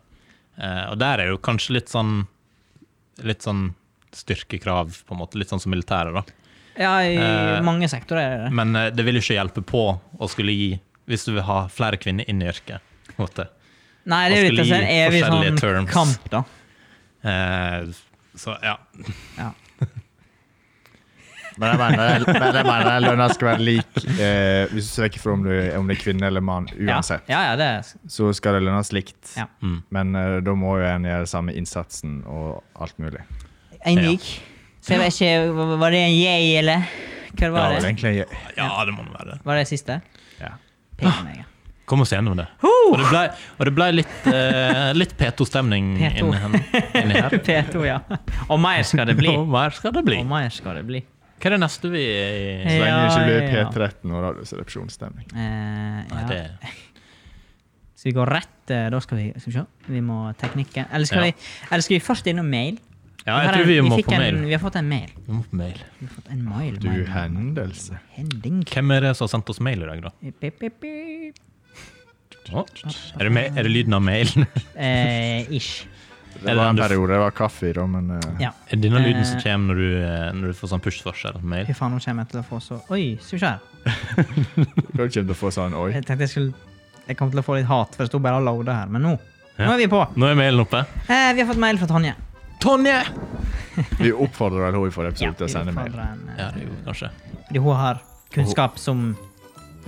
Speaker 4: Eh, og der er jo kanskje litt sånn Litt sånn styrkekrav, på en måte. Litt sånn som militæret, da.
Speaker 2: Ja, i
Speaker 4: Eh,
Speaker 2: mange sektorer er det det.
Speaker 4: Men eh, det vil jo ikke hjelpe på å skulle gi hvis du vil ha flere kvinner inn i yrket. på en måte.
Speaker 2: Nei, det er jo
Speaker 4: man
Speaker 2: litt
Speaker 4: skulle
Speaker 2: sånn
Speaker 4: gi
Speaker 2: evig
Speaker 4: forskjellige
Speaker 2: sånn
Speaker 4: terms.
Speaker 2: kamp, da.
Speaker 4: Eh, så ja.
Speaker 2: Ja.
Speaker 3: Men jeg mener, men jeg mener lønna skal være lik eh, hvis du ser vekk fra om, du, om det er kvinne eller mann.
Speaker 2: Ja,
Speaker 3: Uansett.
Speaker 2: ja, ja, det er,
Speaker 3: Så skal det lønnes likt.
Speaker 2: Ja.
Speaker 4: Mm.
Speaker 3: Men eh, da må jo en gjøre samme innsatsen og alt mulig.
Speaker 2: en
Speaker 4: Ja.
Speaker 2: lik. Så jeg vet ikke, var det en yay, eller? Hva
Speaker 3: Ja,
Speaker 2: var
Speaker 3: vel,
Speaker 2: det?
Speaker 3: egentlig.
Speaker 4: ja, det må det være.
Speaker 2: Var det siste?
Speaker 3: Ja.
Speaker 2: Pek meg, ja.
Speaker 4: Kom oss gjennom det. Og det ble, og det ble litt, eh, litt P2-stemning
Speaker 2: P2.
Speaker 4: inni, hen-
Speaker 2: (laughs)
Speaker 4: inni her.
Speaker 2: P2, ja. Og mer skal det
Speaker 4: (laughs)
Speaker 2: bli.
Speaker 4: Og mer skal det bli.
Speaker 2: Og mer skal det bli.
Speaker 4: Hva er det neste vi
Speaker 3: Så
Speaker 2: Ja,
Speaker 3: lenge det ikke blir
Speaker 2: ja, ja.
Speaker 3: P13 og Radioresepsjonsstemning.
Speaker 2: Eh,
Speaker 4: Nei,
Speaker 2: ja.
Speaker 4: det,
Speaker 2: Så vi går rett eh, Da skal vi skal vi se. Vi må teknikke. Eller skal,
Speaker 4: Ja.
Speaker 2: vi, eller skal vi først innom mail?
Speaker 4: Ja,
Speaker 2: Her
Speaker 4: jeg
Speaker 2: er-
Speaker 4: tror vi må
Speaker 2: fikk
Speaker 4: på
Speaker 2: en,
Speaker 4: mail.
Speaker 2: Vi har fått en mail.
Speaker 4: Vi må på mail.
Speaker 2: Vi har fått en mail.
Speaker 3: Du
Speaker 2: mail, mail.
Speaker 3: hendelse.
Speaker 2: Hending.
Speaker 4: Hvem er det som har sendt oss mail i dag, da?
Speaker 2: Pip, pip, pip.
Speaker 4: Å, Er det, ma- er det lyden av (laughs) mailen?
Speaker 2: Eh, ish.
Speaker 3: Det var en periode det var kaffe i, da, men eh,
Speaker 2: Ja.
Speaker 4: Er det denne lyden som
Speaker 2: Eh.
Speaker 4: kommer når du, eh, når du får sånn push-varsel? Mail?
Speaker 2: Fy faen, nå kommer jeg til å få så Oi, skal vi se her.
Speaker 3: du kommer til å få sånn oi.
Speaker 2: (laughs) Jeg tenkte jeg skulle Jeg kom til å få litt hat, for det sto bare 'loada' her, men nå Nå er vi på.
Speaker 4: Nå er mailen oppe.
Speaker 2: Eh, vi har fått mail fra Tonje.
Speaker 4: Tonje!
Speaker 3: Vi oppfordrer vel henne i forrige episode til å
Speaker 2: Vi
Speaker 3: sende mail.
Speaker 2: oppfordrer henne.
Speaker 4: Ja, det er jo kanskje.
Speaker 2: Fordi hun har kunnskap som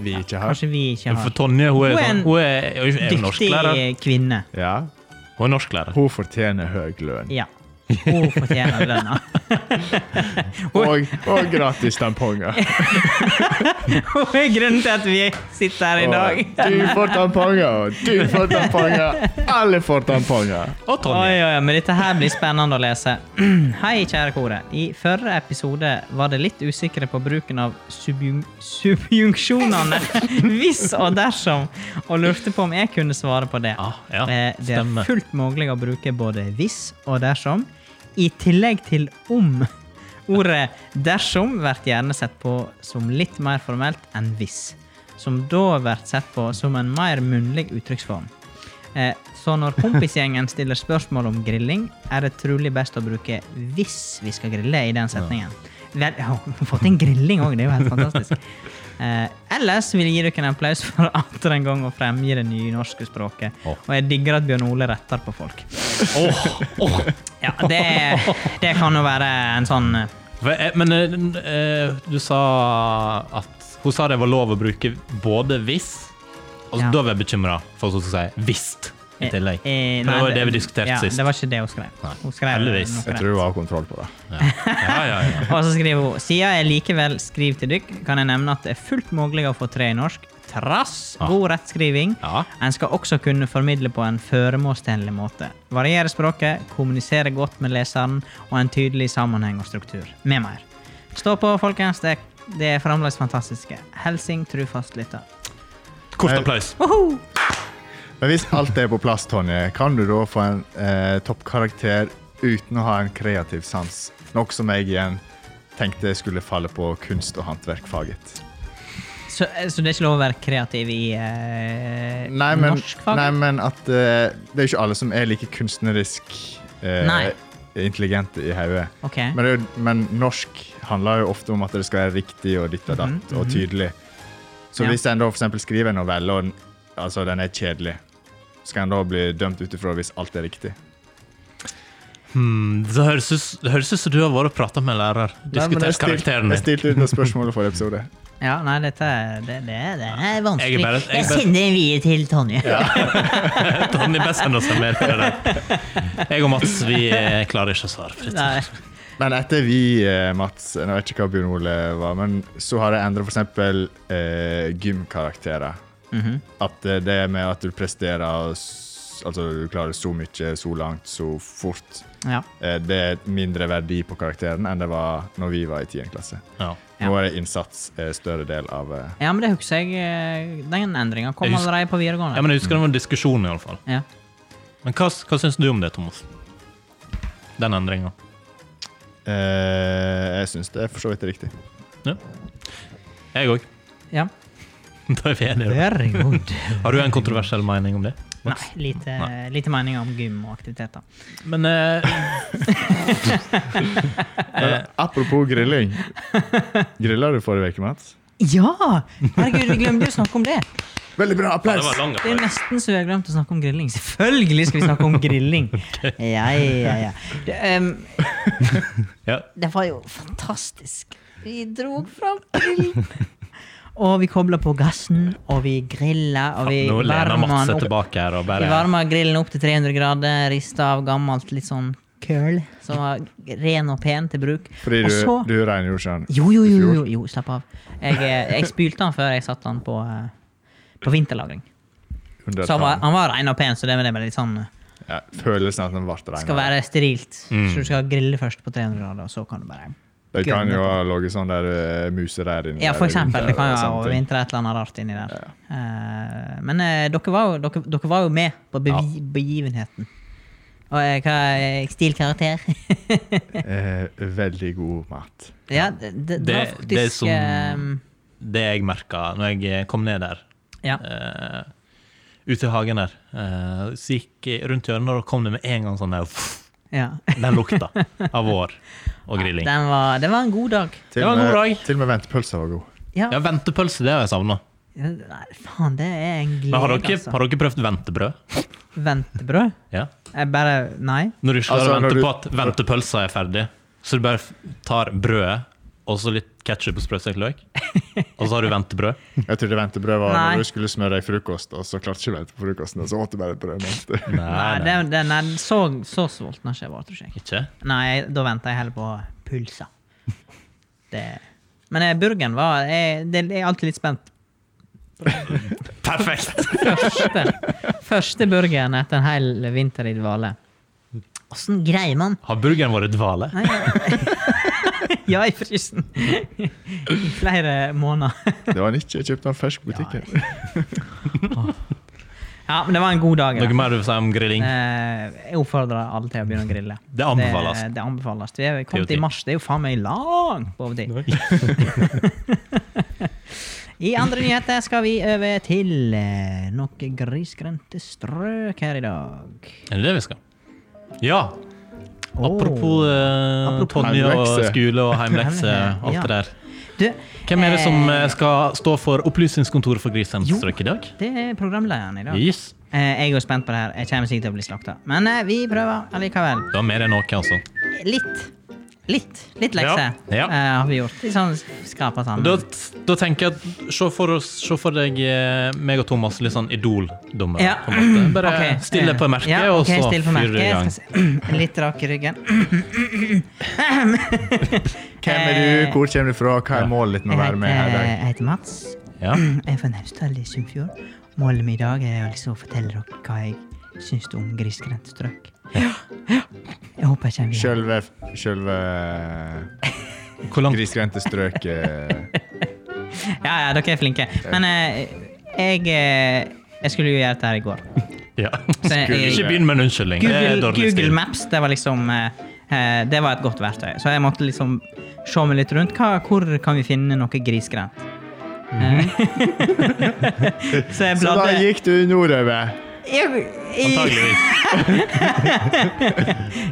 Speaker 3: Vi ikke har.
Speaker 2: kanskje vi ikke
Speaker 4: For
Speaker 2: har.
Speaker 4: Tonje hun er,
Speaker 2: Hun er
Speaker 4: sånn,
Speaker 2: en
Speaker 4: hun er, er, jo- er jo norsklærer.
Speaker 2: Dyktig kvinne.
Speaker 3: Ja.
Speaker 4: Hun er norsklærer.
Speaker 3: Hun fortjener høy lønn.
Speaker 2: Ja. Hun fortjener
Speaker 4: (laughs)
Speaker 2: lønna.
Speaker 3: Og, og gratis
Speaker 2: (laughs)
Speaker 3: tamponger.
Speaker 2: Hun er grunnen til at vi sitter her i dag.
Speaker 4: sånn,
Speaker 3: Og Du får tamponger, og du får tamponger. Alle får tamponger.
Speaker 4: Og Tonje.
Speaker 2: Oi, oi, oi, men dette her blir spennende å lese. (clears throat) Hei, kjære koret. I førre episode var det litt usikre på bruken av subjun
Speaker 4: (laughs)
Speaker 2: subjunksjonene hvis og dersom, og lurte på om jeg kunne svare på det.
Speaker 4: Ja, ja,
Speaker 2: Eh, det er
Speaker 4: stemmer.
Speaker 2: fullt mulig å bruke både hvis og dersom, i tillegg til om. (laughs) Ordet dersom blir gjerne sett på som litt mer formelt enn hvis, som da blir sett på som en mer munnlig uttrykksform. Eh, Så
Speaker 4: (laughs)
Speaker 2: når kompisgjengen stiller spørsmål om grilling, er det trolig best å bruke 'hvis vi skal grille' i den setningen. Vel, ja, vi har (laughs) fått en grilling òg, det er jo helt
Speaker 4: (laughs)
Speaker 2: fantastisk. Eh, ellers vil jeg gi dere en applaus for (laughs) atter en gang å fremgi det nynorske språket.
Speaker 4: Åh.
Speaker 2: Og jeg digger at Bjørn Ole retter på folk.
Speaker 4: Åh, åh.
Speaker 2: Ja, det, det kan jo være en sånn eh,
Speaker 4: For jeg- Men eh, eh, du sa at Hun sa det var lov å bruke både hvis Og
Speaker 2: Ja.
Speaker 4: da var jeg bekymra for at hun skulle si 'visst' i tillegg.
Speaker 2: eh,
Speaker 4: For det
Speaker 2: nei,
Speaker 4: var jo det vi diskuterte
Speaker 2: ja,
Speaker 4: sist.
Speaker 2: Det var ikke det hun skrev.
Speaker 4: Nei,
Speaker 2: Hun skrev
Speaker 4: heldigvis.
Speaker 2: noe
Speaker 3: Jeg
Speaker 2: rett.
Speaker 3: tror hun har kontroll på det.
Speaker 4: Ja, ja, ja.
Speaker 2: Og så skriver hun Siden jeg likevel skriver til dykk, kan jeg nevne at det er fullt mulig å få tre i norsk. Trass
Speaker 4: Ah.
Speaker 2: god rettskriving.
Speaker 4: Ja.
Speaker 2: En skal også kunne formidle på en føremålstenlig måte. Variere språket, kommunisere godt med leseren, og en tydelig sammenheng og struktur. Med mer. Stå på, folkens. Det, det er fremdeles fantastiske. Helsing trufast lytter.
Speaker 3: Eh.
Speaker 4: Kort applaus.
Speaker 2: Woho!
Speaker 3: Men hvis alt er på plass, Tonje, kan du da få en eh, toppkarakter uten å ha en kreativ sans? Noe som jeg igjen tenkte skulle falle på kunst- og håndverkfaget.
Speaker 2: Så, eh, så det er ikke lov å være kreativ i eh,
Speaker 3: Nei, men,
Speaker 2: norsk fag?
Speaker 3: nei, men at eh, det er jo ikke alle som er like kunstnerisk eh,
Speaker 2: Nei.
Speaker 3: intelligente i hodet.
Speaker 2: Ok.
Speaker 3: Men, det er jo- men norsk handler jo ofte om at det skal være riktig og ditt og datt og tydelig. Så
Speaker 2: Ja.
Speaker 3: hvis en da for eksempel skriver en novelle, og den, altså den er kjedelig, skal en da bli dømt ut ifra hvis alt er riktig?
Speaker 4: Hmm, det høres ut- det høres ut som du har vært og prata med en lærer.
Speaker 3: Nei, men
Speaker 4: Diskutert karakteren
Speaker 3: Jeg
Speaker 4: din.
Speaker 3: stilte ut noen spørsmål for (laughs) episode.
Speaker 2: Ja, nei, dette er, det, det, er- det er
Speaker 4: Jeg
Speaker 2: vanskelig.
Speaker 4: er bare-
Speaker 2: Jeg,
Speaker 4: jeg er bare-
Speaker 2: sender en video til Tonje. (laughs)
Speaker 4: (laughs) Tonje best sender oss en mail på det. Jeg og Mats vi eh, klarer ikke å svare. for dette.
Speaker 2: Nei.
Speaker 3: Men etter vi, eh, Mats, jeg vet ikke hva Bjørn Ole var, men så har jeg endret for eksempel eh, gymkarakterer.
Speaker 2: Mhm.
Speaker 3: At eh, det med at du presterer, s- altså du klarer så mye, så langt, så fort,
Speaker 2: Ja.
Speaker 3: eh, det er et mindre verdi på karakteren enn det var når vi var i 10. klasse.
Speaker 4: Ja.
Speaker 3: Nå er det innsats eh, større del av... Eh,
Speaker 2: ja, men det husker jeg. eh, Den endringa kom
Speaker 4: Jeg husker-
Speaker 2: allerede på videregående.
Speaker 4: ja, men Jeg husker det var en diskusjon, i alle fall.
Speaker 2: Ja.
Speaker 4: Men hva, hva syns du om det, Thomas? Den endringa?
Speaker 3: eh, jeg synes det er for så vidt riktig.
Speaker 4: Jeg òg.
Speaker 2: Ja.
Speaker 4: Da er vi enige.
Speaker 2: Very good.
Speaker 4: Har du en kontroversiell mening om det?
Speaker 2: (laughs) Nei, lite, lite meninger om gym og aktiviteter.
Speaker 4: Men eh,
Speaker 2: Eh.
Speaker 3: Men, apropos
Speaker 2: (laughs)
Speaker 3: grilling. Griller du forrige uke, Mats?
Speaker 2: (laughs) Ja! Herregud, vi glemte jo å snakke om det.
Speaker 3: Veldig bra,
Speaker 4: ja, det
Speaker 3: applaus!
Speaker 4: var lang
Speaker 2: Det er nesten så vi har glemt å snakke om grilling. Selvfølgelig skal vi snakke om
Speaker 4: (laughs)
Speaker 2: grilling. Ja, ja, ja. Det, em,
Speaker 4: Ja.
Speaker 2: det var jo fantastisk. Vi drog fram grillen. (laughs) Og vi kobla på gassen, og vi grilla, og vi
Speaker 4: Nå lener
Speaker 2: varma
Speaker 4: Mats
Speaker 2: den
Speaker 4: seg
Speaker 2: opp
Speaker 4: tilbake her og
Speaker 2: Vi
Speaker 4: bare
Speaker 2: varma grillen opp til 300 grader, rista av gammelt litt sånn køl, som var ren og pen til bruk.
Speaker 3: Fordi
Speaker 2: og
Speaker 3: du,
Speaker 2: så
Speaker 3: du rengjorde ikke den.
Speaker 2: jo jo, jo, jo,
Speaker 3: fjor.
Speaker 2: jo, jo, slapp av. Jeg, eh, jeg spylte den før jeg satte den på, eh, på vinterlagring.
Speaker 3: under
Speaker 2: Så han var,
Speaker 3: tann.
Speaker 2: han var ren og pen, så det med det er bare litt sånn eh,
Speaker 3: ja, Følelsen at den ble regnet.
Speaker 2: Skal være sterilt. Så
Speaker 3: Mm.
Speaker 2: du skal grille først på 300 grader, og så kan du bare
Speaker 3: Det kan jo ha ligget sånn der eh, musereir inni
Speaker 2: Ja, for
Speaker 3: der
Speaker 2: eksempel.
Speaker 3: rundt
Speaker 2: Det kan
Speaker 3: der og
Speaker 2: jo være
Speaker 3: sånne ting.
Speaker 2: overvintre et eller annet rart inni der. Eh, men eh, dere, var jo, dere, dere var jo med på bevi, begivenheten. Og eh, hva er stilkarakter? (laughs)
Speaker 3: Eh, veldig god mat.
Speaker 2: Ja, det, det, det var
Speaker 4: Det-
Speaker 2: faktisk
Speaker 4: det er som-
Speaker 2: ehm,
Speaker 4: Det jeg merka når jeg eh, kom ned der,
Speaker 2: ja.
Speaker 4: eh, ute i hagen der, eh, så gikk jeg rundt hjørnet, og da kom det med en gang sånn der (laughs) pff,
Speaker 2: ja.
Speaker 4: Den lukta av
Speaker 2: (laughs)
Speaker 4: vår og grilling.
Speaker 2: Den var, det var en god dag.
Speaker 3: Til
Speaker 4: Det var
Speaker 3: og
Speaker 4: en
Speaker 3: med-
Speaker 4: god dag.
Speaker 3: Til og med ventepølsa var god.
Speaker 2: Ja.
Speaker 4: Ja, ventepølse, det har jeg savna.
Speaker 2: Nei, faen, det er en glede,
Speaker 4: Men har dere,
Speaker 2: altså.
Speaker 4: har dere prøvd ventebrød?
Speaker 2: Ventebrød?
Speaker 4: Ja.
Speaker 2: Jeg bare Nei.
Speaker 4: Når du ikke klarer
Speaker 3: Altså,
Speaker 4: å
Speaker 3: når
Speaker 4: vente
Speaker 3: du-
Speaker 4: på at ventepølsa er ferdig, så du bare f- tar brødet og så litt ketsjup og sprøstekt løk, og så har du ventebrød.
Speaker 3: Jeg trodde ventebrød var
Speaker 2: Nei.
Speaker 3: når du skulle smøre deg frokost, og så klarte ikke du ikke frokosten, og så åt du bare et brød. mens du-
Speaker 4: (laughs)
Speaker 2: (laughs) Nei, det, det, nei så, så sulten har ikke jeg vært, tror jeg.
Speaker 4: Ikke?
Speaker 2: Nei, da venter jeg heller på pulser. Det. Men eh, burgeren var jeg, det, jeg er alltid litt spent.
Speaker 4: Perfekt!
Speaker 2: Første, første burgeren etter en hel vinter i dvale. Åssen greier man
Speaker 4: (laughs) Har burgeren vært dvale?
Speaker 2: Nei, (laughs) Ja, i frysen! (laughs) I flere måneder.
Speaker 3: Det var han ikke. Jeg kjøpte han fersk på butikken.
Speaker 2: Ja, men det var en god dag. i hvert
Speaker 4: Noe mer du vil si om grilling?
Speaker 2: Eh, jeg oppfordrer alle til å begynne å grille.
Speaker 4: (laughs) Det anbefales.
Speaker 2: Det, det anbefales. Vi er kommet
Speaker 4: Det er jo
Speaker 2: i
Speaker 4: tid.
Speaker 2: mars, det er jo faen meg langt på overtid. (laughs) I andre nyheter skal vi over til eh, noe grisgrendte strøk her i dag.
Speaker 4: Er det det vi skal? Ja!
Speaker 2: Åh.
Speaker 4: Apropos, eh,
Speaker 2: Apropos-
Speaker 4: Tonje og
Speaker 3: Heimlekse.
Speaker 4: skole og heimlekse,
Speaker 2: Heimlekse,
Speaker 4: alt
Speaker 2: (laughs) ja.
Speaker 4: det der.
Speaker 2: Du,
Speaker 4: Hvem er det som
Speaker 2: eh,
Speaker 4: eh, skal stå for Opplysningskontoret for
Speaker 2: Jo.
Speaker 4: Grisendstrøk i dag?
Speaker 2: Det er programlederen i dag.
Speaker 4: Yes.
Speaker 2: Eh, jeg er jo spent på det her. Jeg kommer sikkert til å bli slakta. Men eh, vi prøver allikevel.
Speaker 4: Det var mer enn noe, altså.
Speaker 2: Litt. Litt litt lekse
Speaker 4: Ja, ja.
Speaker 2: eh, har vi gjort. Litt sånn skrapa sammen.
Speaker 4: Da, da tenker jeg at Se for, oss, se for deg eh, meg og Thomas litt sånn idol-dommer.
Speaker 2: Ja.
Speaker 4: på en
Speaker 2: (clears throat)
Speaker 4: måte. Bare
Speaker 2: Ok,
Speaker 4: stille
Speaker 2: eh,
Speaker 4: på merket,
Speaker 2: ja,
Speaker 4: og
Speaker 2: ok,
Speaker 4: så
Speaker 2: stille på
Speaker 4: fyrer du i gang.
Speaker 2: merket. Jeg skal se- (clears throat) Litt rak i ryggen.
Speaker 3: Hvem er du,
Speaker 2: Eh,
Speaker 3: hvor kommer du fra, hva er målet ditt med
Speaker 2: Jeg
Speaker 3: å være med her i
Speaker 2: heter,
Speaker 3: dag?
Speaker 2: jeg heter Mats.
Speaker 4: Ja.
Speaker 2: (clears throat) Jeg er fra Naustdal i Sunnfjord. Målet mitt i dag er altså å fortelle dere hva jeg syns om grisgrendt strøk. Jeg håper jeg kommer igjen.
Speaker 3: Sjølve, sjølve
Speaker 4: Hvor langt
Speaker 3: grisgrendte strøk
Speaker 2: (laughs)
Speaker 3: eh,
Speaker 2: Ja, ja, dere er flinke. Men eh, jeg, eh, jeg skulle jo gjøre dette her i går.
Speaker 4: ja.
Speaker 2: Så jeg-
Speaker 4: Ikke begynn med en unnskyldning. Det er
Speaker 2: Google,
Speaker 4: dårlig
Speaker 2: Google
Speaker 4: stil.
Speaker 2: Maps det var liksom eh, eh, Det var et godt verktøy. Så jeg måtte liksom se meg litt rundt. Hva, hvor kan vi finne noe grisgrendt?
Speaker 4: Mhm.
Speaker 2: Eh, (laughs) så jeg
Speaker 3: Så da
Speaker 2: bladde
Speaker 3: gikk du nordover.
Speaker 2: jeg, jeg,
Speaker 4: Antageligvis.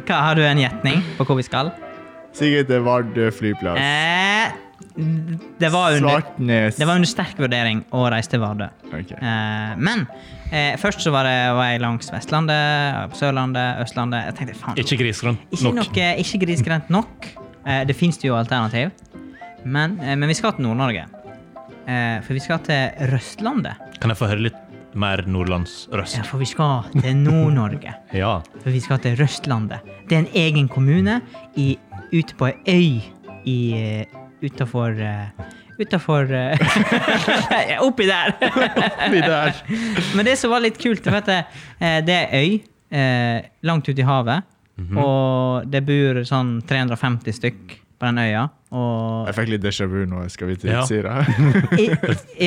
Speaker 2: hva, Har du en gjetning på hvor vi skal?
Speaker 3: Sikkert til Vardø flyplass.
Speaker 2: Eh, det, var under,
Speaker 3: Svartnes.
Speaker 2: det var under sterk vurdering å reise til Vardø.
Speaker 3: Ok.
Speaker 2: Eh, men eh, først så var, det, var jeg langs Vestlandet, Sørlandet, Østlandet. Jeg tenkte faen
Speaker 4: Ikke grisgrønt
Speaker 2: Ikke,
Speaker 4: nok.
Speaker 2: noe, ikke grisgrendt nok. Eh, det fins jo alternativ. Men, eh, men vi skal til Nord-Norge. Eh, for vi skal til Røstlandet.
Speaker 4: Kan jeg få høre litt mer
Speaker 2: Ja,
Speaker 4: nordlandsrøst?
Speaker 2: for vi skal til Nord-Norge.
Speaker 4: Ja.
Speaker 2: (laughs) For vi skal til Røstlandet. Det er en egen kommune i, ute på ei øy i eh, Utafor eh, Utafor eh, (laughs) Oppi der!
Speaker 4: Vi der.
Speaker 2: (laughs) Men det som var litt kult, det var at det, eh, det er øy eh, langt ute i havet. Og det bor sånn 350 stykk på den øya.
Speaker 3: (laughs)
Speaker 2: Og
Speaker 3: Jeg fikk litt déjà vu nå. Skal vi til
Speaker 4: Ja.
Speaker 3: Sira?
Speaker 2: I,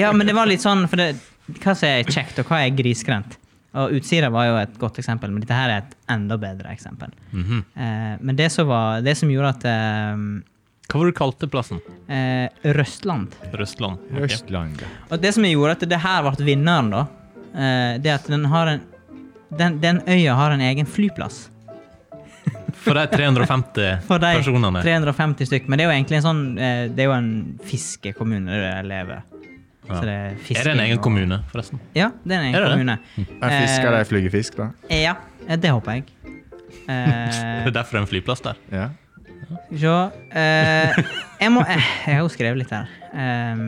Speaker 2: ja, men det var litt sånn for det, Hva som er kjekt, og hva er grisgrendt? Og Utsira var jo et godt eksempel, men dette her er et enda bedre eksempel.
Speaker 4: Mhm.
Speaker 2: eh, men det som, var, det som gjorde at eh,
Speaker 4: Hva var det du kalte plassen?
Speaker 2: eh, Røstland
Speaker 4: Røstland? Ok.
Speaker 3: Østlandet.
Speaker 2: Og det som gjorde at det her ble vinneren, da, eh, det er at den har en den, den øya har en egen flyplass
Speaker 4: For de 350
Speaker 2: (laughs) for de
Speaker 4: personene.
Speaker 2: 350 stykk. Men det er jo egentlig en sånn eh, Det er jo en fiskekommune der jeg lever.
Speaker 4: Ja.
Speaker 2: Så det
Speaker 4: Er det
Speaker 2: er,
Speaker 4: en
Speaker 2: fisking
Speaker 4: egen
Speaker 2: og-
Speaker 4: kommune, forresten?
Speaker 2: Ja, det er en egen
Speaker 4: Er det det?
Speaker 2: kommune.
Speaker 3: Hm. Jeg
Speaker 2: Eh,
Speaker 3: fisker de flyger fisk, da.
Speaker 2: Ja, det håper jeg. Eh,
Speaker 4: (laughs) Det er derfor det er en flyplass der.
Speaker 3: Ja.
Speaker 2: Skal vi se eh, Jeg må eh, Jeg har jo skrevet litt her. Eh,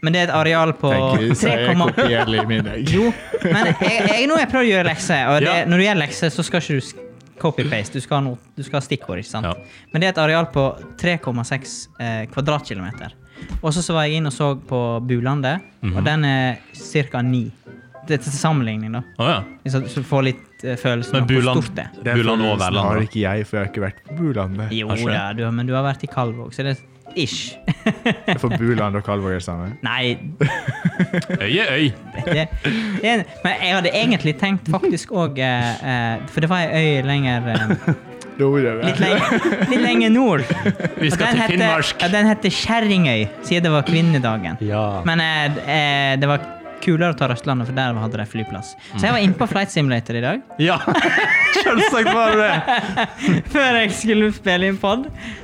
Speaker 2: men det er et areal på
Speaker 3: Tenker vi, så jeg
Speaker 2: 3,8
Speaker 3: kopierer litt middag.
Speaker 2: Jo, men jeg, jeg, nå har jeg prøvd å gjøre lekser, og det,
Speaker 4: Ja.
Speaker 2: når du gjør lekser, så skal ikke du sk- copy-paste. Du skal ha, noe- du skal ha stikkord, ikke sant?
Speaker 4: Ja.
Speaker 2: Men det er et areal på 3,6 eh, kvadratkilometer. Og så så var jeg inn og så på Bulandet,
Speaker 4: Mhm.
Speaker 2: og den er ca. 9. Det er til sammenligning, da.
Speaker 4: Å ja.
Speaker 2: Så så du får litt eh, følelsen
Speaker 4: Men
Speaker 2: av hvor
Speaker 4: Buland-
Speaker 2: stort det er.
Speaker 3: Den
Speaker 4: Buland og
Speaker 3: følelsen sånn- har
Speaker 4: Værland.
Speaker 3: ikke jeg, for jeg har ikke vært på Bulandet.
Speaker 2: Jo
Speaker 4: Har ikke
Speaker 2: da, du, har- men du har vært i Kalvåg, så det er ish. (laughs)
Speaker 3: For Buland og Kalvåg er det samme.
Speaker 2: Nei,
Speaker 4: da. Øy er øy.
Speaker 2: det, det er, men jeg hadde egentlig tenkt faktisk òg eh, eh, For det var ei øy lenger eh,
Speaker 3: Nordover.
Speaker 2: litt, lenger, (laughs) litt lenger nord.
Speaker 4: Vi
Speaker 2: Og
Speaker 4: skal til
Speaker 2: den heter-
Speaker 4: Finnmark.
Speaker 2: Ja, den heter Kjerringøy, siden det var kvinnedagen.
Speaker 4: Ja.
Speaker 2: Men eh, eh, det var kulere å ta Røstlandet, for der hadde de flyplass. Så jeg var inne på Flight Simulator i dag, (laughs)
Speaker 4: Ja! Selvsagt var det det!
Speaker 2: før jeg skulle spille inn pod.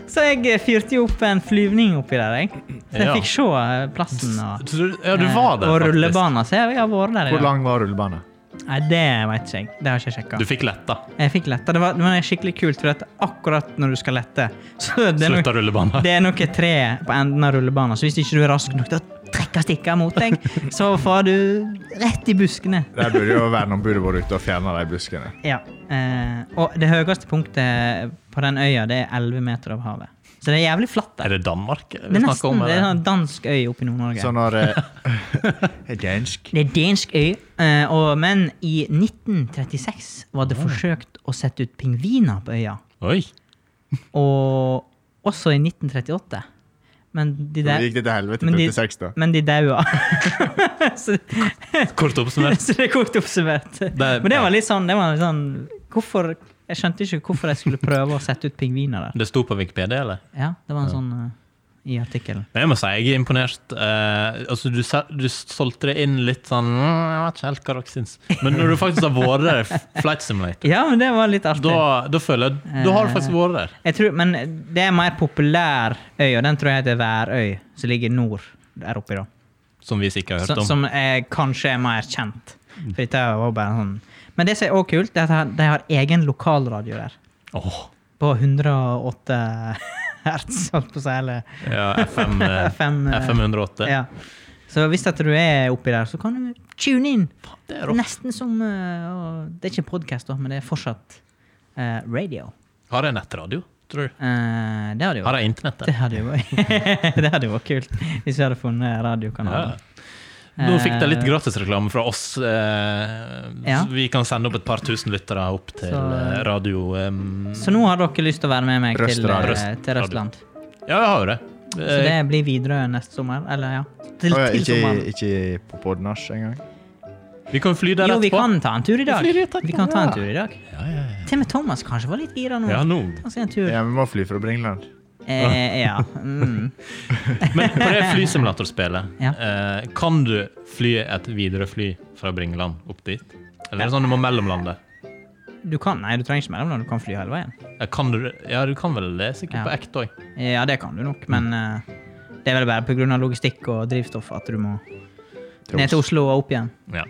Speaker 2: Så jeg eh, fyrte jo opp en flyvning oppi der, jeg. Så jeg
Speaker 4: Ja.
Speaker 2: fikk se eh, plassen og,
Speaker 4: Så du- Ja, du var der,
Speaker 2: Eh, og
Speaker 4: faktisk.
Speaker 2: rullebana. Så jeg, jeg har vært der i
Speaker 3: Hvor
Speaker 2: dag.
Speaker 3: lang var rullebanen?
Speaker 2: Nei, det vet ikke jeg. Det har ikke jeg sjekka.
Speaker 4: Du fikk letta.
Speaker 2: Jeg fikk letta. Det var, det var skikkelig kult, for at akkurat når du skal lette, så det er noe-
Speaker 4: Slutta rullebanen.
Speaker 2: Det er noe tre på enden av rullebanen, så hvis ikke du er rask nok til å trekke stikker mot deg, så får du rett i buskene.
Speaker 3: Der burde jo verneombudet vært ute og fjerna de buskene.
Speaker 2: Ja. Eh, og det høyeste punktet på den øya, det er 11 meter over havet. Så det er jævlig flatt
Speaker 4: Er
Speaker 2: der.
Speaker 4: det Danmark vi
Speaker 2: Det er
Speaker 4: snakker
Speaker 2: nesten
Speaker 4: om?
Speaker 2: det er en
Speaker 4: eller? Sånn.
Speaker 2: sånn dansk øy oppe i Nord-Norge.
Speaker 3: Så når eh, (laughs) Er dansk?
Speaker 2: Det er dansk øy, eh, og, men i 1936 var det forsøkt å sette ut pingviner på øya.
Speaker 4: Oi!
Speaker 2: Og også i 1938. Men
Speaker 3: Det
Speaker 2: de der
Speaker 3: gikk det til helvete
Speaker 2: Men
Speaker 3: på
Speaker 2: de-
Speaker 3: 86, da?
Speaker 2: men de
Speaker 4: (laughs)
Speaker 2: daua. (laughs) så
Speaker 4: Kort oppsummert.
Speaker 2: (laughs) Så det er kort oppsummert. Men det var litt sånn, det var litt sånn hvorfor, Jeg skjønte ikke hvorfor jeg skulle prøve å sette ut pingviner der.
Speaker 4: Det sto på Wikipedia, eller?
Speaker 2: Ja, Det var en sånn eh, i artikkelen.
Speaker 4: Men jeg må si jeg er imponert. Eh, altså, du, sel- du solgte det inn litt sånn mm, Jeg vet ikke helt hva dere syns. Men når du faktisk har vært der,
Speaker 2: (laughs)
Speaker 4: i Flight Simulator,
Speaker 2: Ja, men det var litt artig.
Speaker 4: da, da føler jeg Da
Speaker 2: Eh,
Speaker 4: har du faktisk vært der.
Speaker 2: Jeg tror, men det er en mer populær øy, og den tror jeg heter Værøy, som ligger nord der oppe. da.
Speaker 4: Som vi ikke har hørt
Speaker 2: Som,
Speaker 4: om.
Speaker 2: som er, kanskje er mer kjent. For dette var bare en sånn. Men det som er òg kult, det er at de har egen lokalradio der.
Speaker 4: Åh,
Speaker 2: På 108 hertz, holdt på å si. Eller
Speaker 4: ja, FM,
Speaker 2: (laughs)
Speaker 4: eh,
Speaker 2: FM, eh,
Speaker 4: FM 108.
Speaker 2: Ja. Så hvis at du er oppi der, så kan du tune inn.
Speaker 4: Det er rått.
Speaker 2: Nesten som eh, å- Det er ikke podkast, men det er fortsatt eh, radio.
Speaker 4: Har jeg nettradio, tror du?
Speaker 2: Eh, det hadde jo
Speaker 4: Har jeg internett
Speaker 2: (laughs) det
Speaker 4: der?
Speaker 2: hadde jo, det hadde jo vært (laughs) kult hvis vi hadde funnet
Speaker 4: Ja.
Speaker 2: radiokanalen.
Speaker 4: Nå fikk de litt
Speaker 2: Eh,
Speaker 4: gratisreklame fra oss. Eh,
Speaker 2: Ja.
Speaker 4: så Vi kan sende opp et par tusen lyttere opp til
Speaker 2: Så-
Speaker 4: eh, radio. eh, em,
Speaker 2: Så nå har dere lyst til å være med meg til,
Speaker 3: Røstradio.
Speaker 2: eh, til Røstland.
Speaker 4: ja, jeg har jo det.
Speaker 2: Så det
Speaker 4: Eh,
Speaker 2: blir Widerøe neste sommer. Eller ja, til,
Speaker 3: Å ja,
Speaker 2: til
Speaker 3: ikke,
Speaker 2: sommeren.
Speaker 3: ikke på Podnach engang?
Speaker 4: vi kan fly der
Speaker 2: Jo, vi
Speaker 4: etterpå.
Speaker 2: kan ta en tur i dag.
Speaker 4: Vi flyr rett
Speaker 2: Vi kan ta en
Speaker 3: etterpå, ja.
Speaker 2: tur i dag.
Speaker 4: Ja, ja, ja.
Speaker 2: Til og med Thomas kanskje var litt gira nå.
Speaker 4: ja, nå.
Speaker 2: Ta seg en tur.
Speaker 3: Ja, vi må fly fra Bringland.
Speaker 2: Eh, ja. Mm.
Speaker 4: Men på det flysimulatorspillet,
Speaker 2: Ja.
Speaker 4: eh, kan du fly et videre fly fra Bringeland opp dit? Eller er det sånn du må mellomlande?
Speaker 2: Du kan, nei, du trenger ikke mellomland, du kan fly hele veien.
Speaker 4: Ja, Kan du, ja, du kan vel det sikkert
Speaker 2: Ja.
Speaker 4: på ekte òg.
Speaker 2: Eh, Ja, det kan du nok, men
Speaker 3: Mm.
Speaker 2: eh, det er vel bare pga. logistikk og drivstoff at du må ned til Oslo og opp igjen.
Speaker 4: Ja.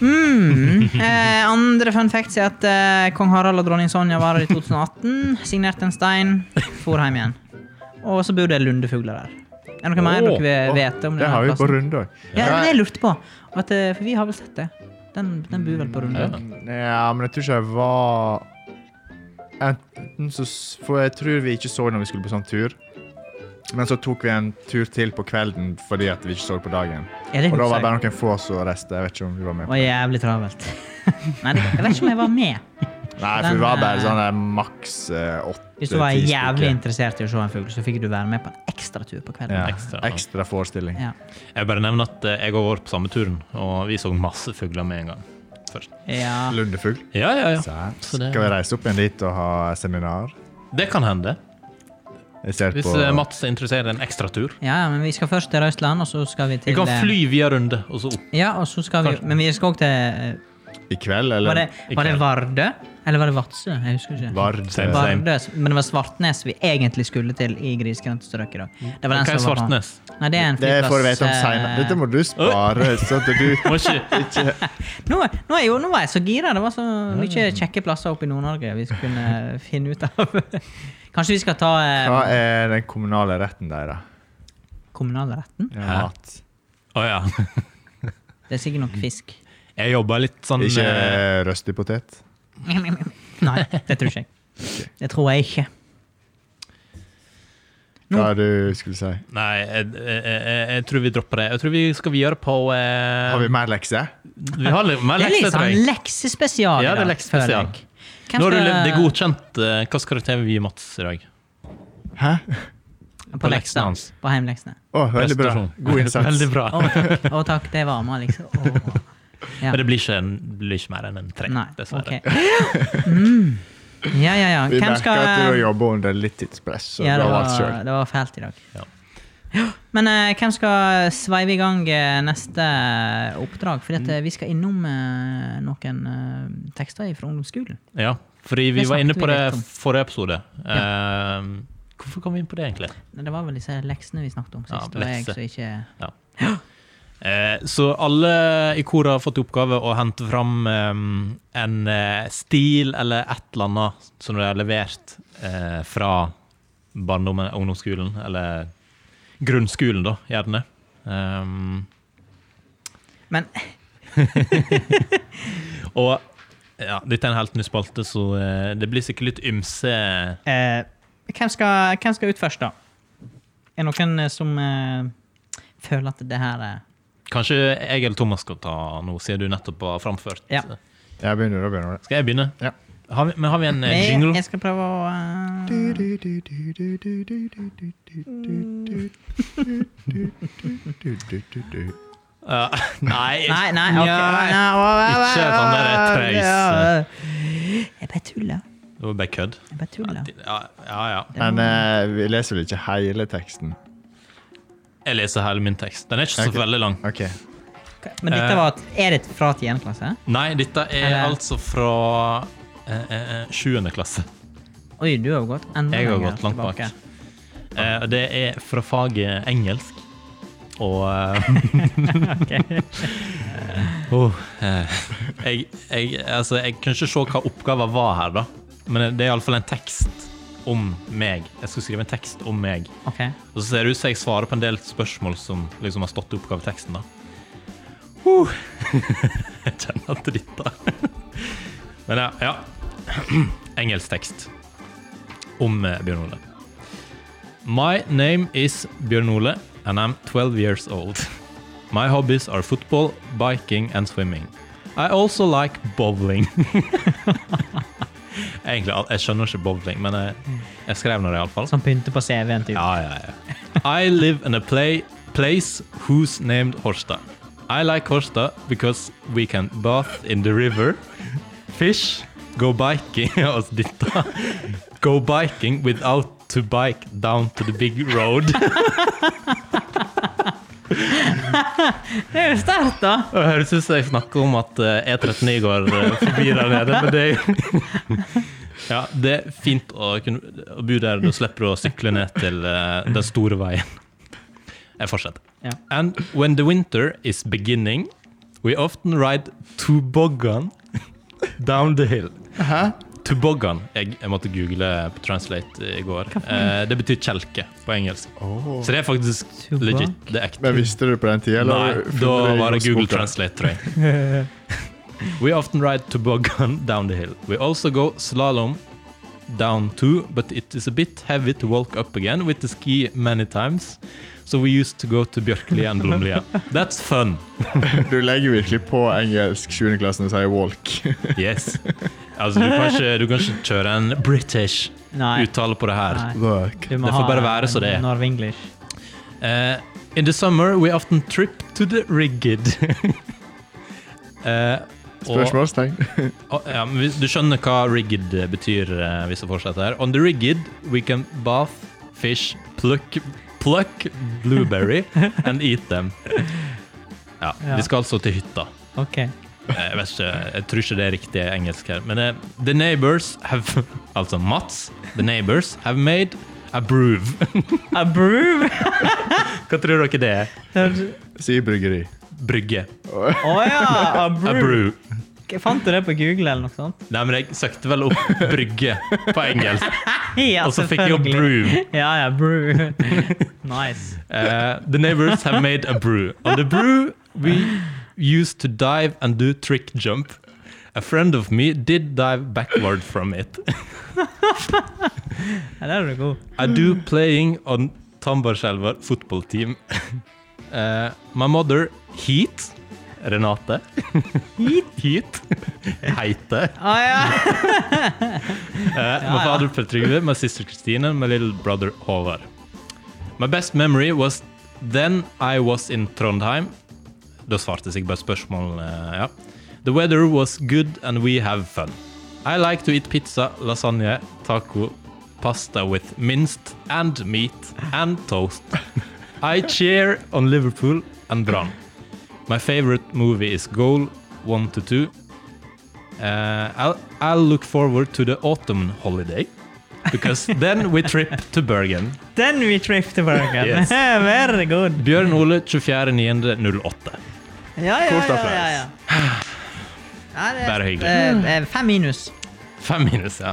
Speaker 2: Mm.
Speaker 3: (laughs)
Speaker 2: Eh, andre fun facts er at eh, kong Harald og dronning Sonja var her i
Speaker 3: (laughs)
Speaker 2: 2018, signerte en stein, for hjem igjen. Og så bor det lundefugler der. Er det noe mer
Speaker 4: Åh,
Speaker 2: dere vil vete om
Speaker 3: Det
Speaker 2: denne
Speaker 3: har vi på
Speaker 2: plassen?
Speaker 3: Runde òg.
Speaker 2: Ja, det var det jeg lurte på. At, eh, for vi har vel sett det. Den, den bor vel på Runde.
Speaker 4: Ja.
Speaker 3: Mm, Ja, men jeg tror ikke jeg var Enten så s- For jeg tror vi ikke så når vi skulle på sånn tur. Men så tok vi en tur til på kvelden fordi at vi ikke så på dagen.
Speaker 2: Ja, det
Speaker 3: Og da
Speaker 2: husker
Speaker 3: var det
Speaker 2: jeg.
Speaker 3: bare noen få som restet. Jeg vet ikke om du var med.
Speaker 2: Det
Speaker 3: på
Speaker 2: var jævlig travelt. (laughs) Nei, jeg vet ikke om jeg var med.
Speaker 3: Nei, for vi var bare
Speaker 2: eh,
Speaker 3: sånn der maks eh, åtte
Speaker 2: Hvis du var
Speaker 3: ti
Speaker 2: jævlig
Speaker 3: stykker.
Speaker 2: interessert i å se en fugl, så fikk du være med på en ekstra tur på kvelden.
Speaker 3: ja.
Speaker 4: Ekstra.
Speaker 3: Ekstra forestilling.
Speaker 2: Ja.
Speaker 4: Jeg bare nevner at eh, jeg har vært på samme turen, og vi så masse fugler med en gang. Først.
Speaker 2: Ja.
Speaker 3: Lundefugl.
Speaker 4: Ja, ja, ja.
Speaker 3: Sær.
Speaker 4: Så det-
Speaker 3: Skal vi reise opp igjen dit og ha seminar?
Speaker 4: Det kan hende.
Speaker 3: Jeg ser
Speaker 4: Hvis
Speaker 3: på
Speaker 4: eh, Mats er interessert i en ekstra tur.
Speaker 2: ja, men vi skal først til Røysland, og så skal vi
Speaker 4: Vi
Speaker 2: til
Speaker 4: kan
Speaker 2: eh,
Speaker 4: fly via runde, og så opp.
Speaker 2: Ja, og så skal vi
Speaker 4: Kanskje.
Speaker 2: Men vi skal òg til eh,
Speaker 3: i kveld,
Speaker 2: Var det,
Speaker 3: eller?
Speaker 4: Ikke
Speaker 2: var det
Speaker 4: helt.
Speaker 2: Vardø? Eller var det Vadsø? Jeg husker ikke.
Speaker 3: Vard.
Speaker 4: Same,
Speaker 3: eh,
Speaker 4: same.
Speaker 2: Vardø, men det var Svartnes vi egentlig skulle til i grisgrendte strøk i dag. Det
Speaker 4: Hva
Speaker 2: var den
Speaker 4: er
Speaker 2: som var på-
Speaker 4: Svartnes?
Speaker 2: Nei, det er en
Speaker 3: Det
Speaker 2: flyplass.
Speaker 3: får du vite om
Speaker 2: eh,
Speaker 3: senere. Dette må du spare. Så at du
Speaker 4: Må ikke (laughs)
Speaker 2: Nå, nå, er jo, nå var jeg så gira. Det var så mye kjekke plasser oppe i Nord-Norge vi kunne
Speaker 4: (laughs)
Speaker 2: finne ut av. Kanskje vi skal ta eh,
Speaker 3: Hva er den kommunale retten deres?
Speaker 2: kommunalretten?
Speaker 4: Hæ?
Speaker 3: Mat.
Speaker 4: Å ja.
Speaker 2: Det er sikkert
Speaker 4: Mm.
Speaker 2: nok
Speaker 4: (laughs)
Speaker 2: fisk.
Speaker 4: Jeg jobba litt sånn
Speaker 3: Ikke
Speaker 4: eh,
Speaker 3: eh, røstig potet?
Speaker 2: Nei, det tror ikke jeg. Det tror jeg ikke. Nå-
Speaker 3: Hva er det du skulle si?
Speaker 4: Nei, jeg, jeg, jeg, jeg tror vi dropper det. Jeg tror vi skal videre på eh,
Speaker 3: Har vi mer lekser?
Speaker 4: Vi har litt mer
Speaker 2: Det er
Speaker 4: lekser,
Speaker 2: litt
Speaker 4: tror
Speaker 2: sånn
Speaker 4: jeg.
Speaker 2: leksespesial. i
Speaker 4: Ja, det er
Speaker 2: dag,
Speaker 4: leksespesial.
Speaker 2: føler jeg. Hvem
Speaker 4: Nå har du
Speaker 2: skal-
Speaker 4: levd det godkjent. eh, Hva skal du til vi gir Mats i dag?
Speaker 3: Hæ?
Speaker 2: På
Speaker 4: på
Speaker 2: leksene
Speaker 4: leksene
Speaker 2: hans.
Speaker 4: hans.
Speaker 2: På heimleksene.
Speaker 3: Å, veldig bra.
Speaker 4: Prestasjon.
Speaker 3: God innsats.
Speaker 4: (laughs) Veldig bra.
Speaker 2: Å, å takk, det var meg, liksom.
Speaker 4: (laughs)
Speaker 2: Å. Ja.
Speaker 4: Men det blir ikke, en- blir ikke mer enn en tre,
Speaker 2: Nei,
Speaker 4: dessverre.
Speaker 2: ok. Mm. Ja, ja, ja.
Speaker 3: Vi
Speaker 2: Hvem
Speaker 3: merker at du
Speaker 2: skal
Speaker 3: jobber under litt tidspress. så
Speaker 2: Ja, det
Speaker 3: bra valgt
Speaker 2: var,
Speaker 3: selv.
Speaker 2: det var fælt i dag.
Speaker 4: Ja.
Speaker 2: Men eh, hvem skal sveive i gang eh, neste oppdrag? Fordi at, eh, vi skal innom eh, noen eh, tekster fra ungdomsskolen.
Speaker 4: Ja, fordi vi
Speaker 2: Det
Speaker 4: var inne
Speaker 2: snakket
Speaker 4: på
Speaker 2: vi
Speaker 4: det
Speaker 2: litt om.
Speaker 4: forrige episode. Eh, hvorfor kom vi inn på det, egentlig?
Speaker 2: Det var vel disse leksene vi snakket om
Speaker 4: Ja,
Speaker 2: sist. og jeg
Speaker 4: lekser.
Speaker 2: som ikke...
Speaker 4: Eh, så alle i koret har fått i oppgave å hente fram eh, en eh, stil eller et eller annet som de har levert eh, fra barndommen, ungdomsskolen, eller grunnskolen, da, gjerne. Um, (laughs)
Speaker 2: Men
Speaker 4: og ja, dette er en helt ny spalte, så eh, det blir sikkert litt ymse
Speaker 2: eh, hvem, skal, hvem skal ut først, da? Er det noen eh, som eh, føler at det her eh, er
Speaker 4: Kanskje jeg eller Thomas skal ta noe, siden du nettopp har framført.
Speaker 2: Ja.
Speaker 3: Jeg begynner, da begynner det.
Speaker 4: Skal jeg begynne?
Speaker 3: Ja.
Speaker 4: Har vi, men har vi en eh,
Speaker 2: Jeg-
Speaker 4: jingle?
Speaker 2: Jeg skal prøve å eh,
Speaker 4: Ja, (laughs) nei,
Speaker 2: Nei, nei, ok. Nei, å, å, å,
Speaker 4: Ikke sånn der
Speaker 2: å,
Speaker 4: treis.
Speaker 2: å. Jeg bare tuller.
Speaker 4: Det var bare kødd.
Speaker 2: Jeg bare tuller.
Speaker 4: Ja, ja, ja.
Speaker 3: Men eh, vi leser vel ikke hele teksten?
Speaker 4: Jeg leser hele min tekst. Den er ikke så
Speaker 3: Ok.
Speaker 4: veldig lang.
Speaker 3: OK.
Speaker 2: Men
Speaker 4: Eh.
Speaker 2: dette var Er det fra 10. klasse?
Speaker 4: Nei, dette er
Speaker 2: Eller-
Speaker 4: altså fra eh, eh, eh, sjuende klasse.
Speaker 2: Oi, du har jo gått enda
Speaker 4: Jeg har
Speaker 2: lenger
Speaker 4: gått langt bak.
Speaker 2: tilbake.
Speaker 4: Eh, og det er fra faget engelsk. Og eh, Åh, eh, jeg, jeg, altså, jeg kan ikke se hva oppgaven var her, da. Men det er iallfall en tekst om meg. Jeg skulle skrive en tekst om meg.
Speaker 2: Ok.
Speaker 4: Og så ser det ut som jeg svarer på en del spørsmål som liksom har stått i oppgaveteksten. da. Uh. (laughs) jeg kjenner at dette Men ja. ja. (clears throat) Engelsk tekst om eh, Bjørn Ole. My name is Bjørn Ole, and I'm 12 years old. My hobbies are football, biking and swimming. I also like bowling. (laughs) Egentlig, al- jeg skjønner ikke bowling, men jeg, jeg skrev nå det iallfall.
Speaker 2: Som pynter på CV-en, typ.
Speaker 4: Ah, Ja, ja, ja. I live in a play, place who's named Horsta. I like Horsta because we can bath in the river, fish, go biking (laughs) og dytta. Go biking without to bike down to the big road.
Speaker 2: Det er jo sterkt, da!
Speaker 4: Og Det høres ut som jeg snakker om at eh, E39 går eh, forbi der nede, men det er jo (laughs) Ja, det er fint å, kunne, å bo der du slipper å sykle ned til eh, den store veien. Jeg fortsetter.
Speaker 2: Ja.
Speaker 4: And when the winter is beginning, we often ride toboggan down the hill. Toboggan. Jeg, jeg måtte google eh, på translate i går. Eh, det betyr kjelke på engelsk. Så det er faktisk
Speaker 2: Tobakk.
Speaker 4: legit. Det er ekte.
Speaker 3: Men visste du på den tida?
Speaker 4: Nei, da var det Google Translate, tror jeg. (laughs) We often ride toboggan down the hill. We also go slalom down too, but it is a bit heavy to walk up again with the ski many times. So we used to go to Bjørklia and Blomlia.
Speaker 2: (laughs)
Speaker 4: That's fun.
Speaker 3: Du legger virkelig på engelsk 7. klassen og sier walk.
Speaker 4: Yes. Altså, du kan ikke, du kan ikke kjøre en British
Speaker 2: Nei.
Speaker 4: uttale på det her.
Speaker 2: Nei.
Speaker 3: walk.
Speaker 2: Du må
Speaker 4: Det får
Speaker 2: ha
Speaker 4: bare være så det er.
Speaker 2: Norwenglish.
Speaker 4: Uh, in the summer, we often trip to the rigid. (laughs) Eh, og-
Speaker 3: Spørsmålstegn. (laughs)
Speaker 4: Å, Ja, men hvis- du skjønner hva rigged betyr eh, hvis jeg fortsetter her. On the rigged, we can bath, fish, pluck, pluck
Speaker 2: (laughs)
Speaker 4: blueberry and eat them. Ja,
Speaker 2: Ja.
Speaker 4: vi skal altså til hytta.
Speaker 2: Ok.
Speaker 4: Eh, Jeg vet ikke, jeg tror ikke det er riktig engelsk her. Men eh, the neighbors have, (laughs) altså Mats, the neighbors have made a brew. (laughs)
Speaker 2: A brew?
Speaker 4: Hva tror dere det er?
Speaker 2: Å
Speaker 3: Sier bryggeri.
Speaker 4: Brygge.
Speaker 2: ja! A
Speaker 4: A
Speaker 2: brew.
Speaker 4: brew.
Speaker 2: Fant du det på Google eller noe sånt?
Speaker 4: Nei, men jeg søkte vel opp brygge på engelsk,
Speaker 2: Ja,
Speaker 4: og så fikk jeg jo
Speaker 2: selvfølgelig.
Speaker 4: brew.
Speaker 2: Ja, ja, brew. (laughs) Nice.
Speaker 4: Uh, the neighbors have made a brew. On the brew, we used to dive and do trick jump. A friend of me did dive backward from it.
Speaker 2: Ja, der er du god.
Speaker 4: I do playing on Tambarskjelva football team. (laughs) Uh, my mother, Heat, Renate. (laughs) Heat? Heat. Heite.
Speaker 2: Å ja!
Speaker 4: Uh, my father Per Trygve, my sister Christine, and my little brother Håvard. My best memory was then I was in Trondheim. Da svarte jeg bare spørsmål, eh, ja. The weather was good and we have fun. I like to eat pizza, lasagne, taco, pasta with minced and meat and toast. I cheer on Liverpool and Brann. My favorite movie is Goal 1 to 2. Uh, I'll, I'll look forward to the autumn holiday
Speaker 2: (laughs)
Speaker 4: because then we trip to Bergen.
Speaker 2: Then we trip to Bergen.
Speaker 4: Yes.
Speaker 2: (laughs) Very good.
Speaker 4: Bjørn Ole 24.9.08.
Speaker 2: Ja, ja,
Speaker 3: Kort
Speaker 2: ja.
Speaker 3: applaus.
Speaker 2: ja, ja. Nei, det, er-
Speaker 4: Bare hyggelig.
Speaker 2: eh, eh, fem minus.
Speaker 4: Fem minus, ja.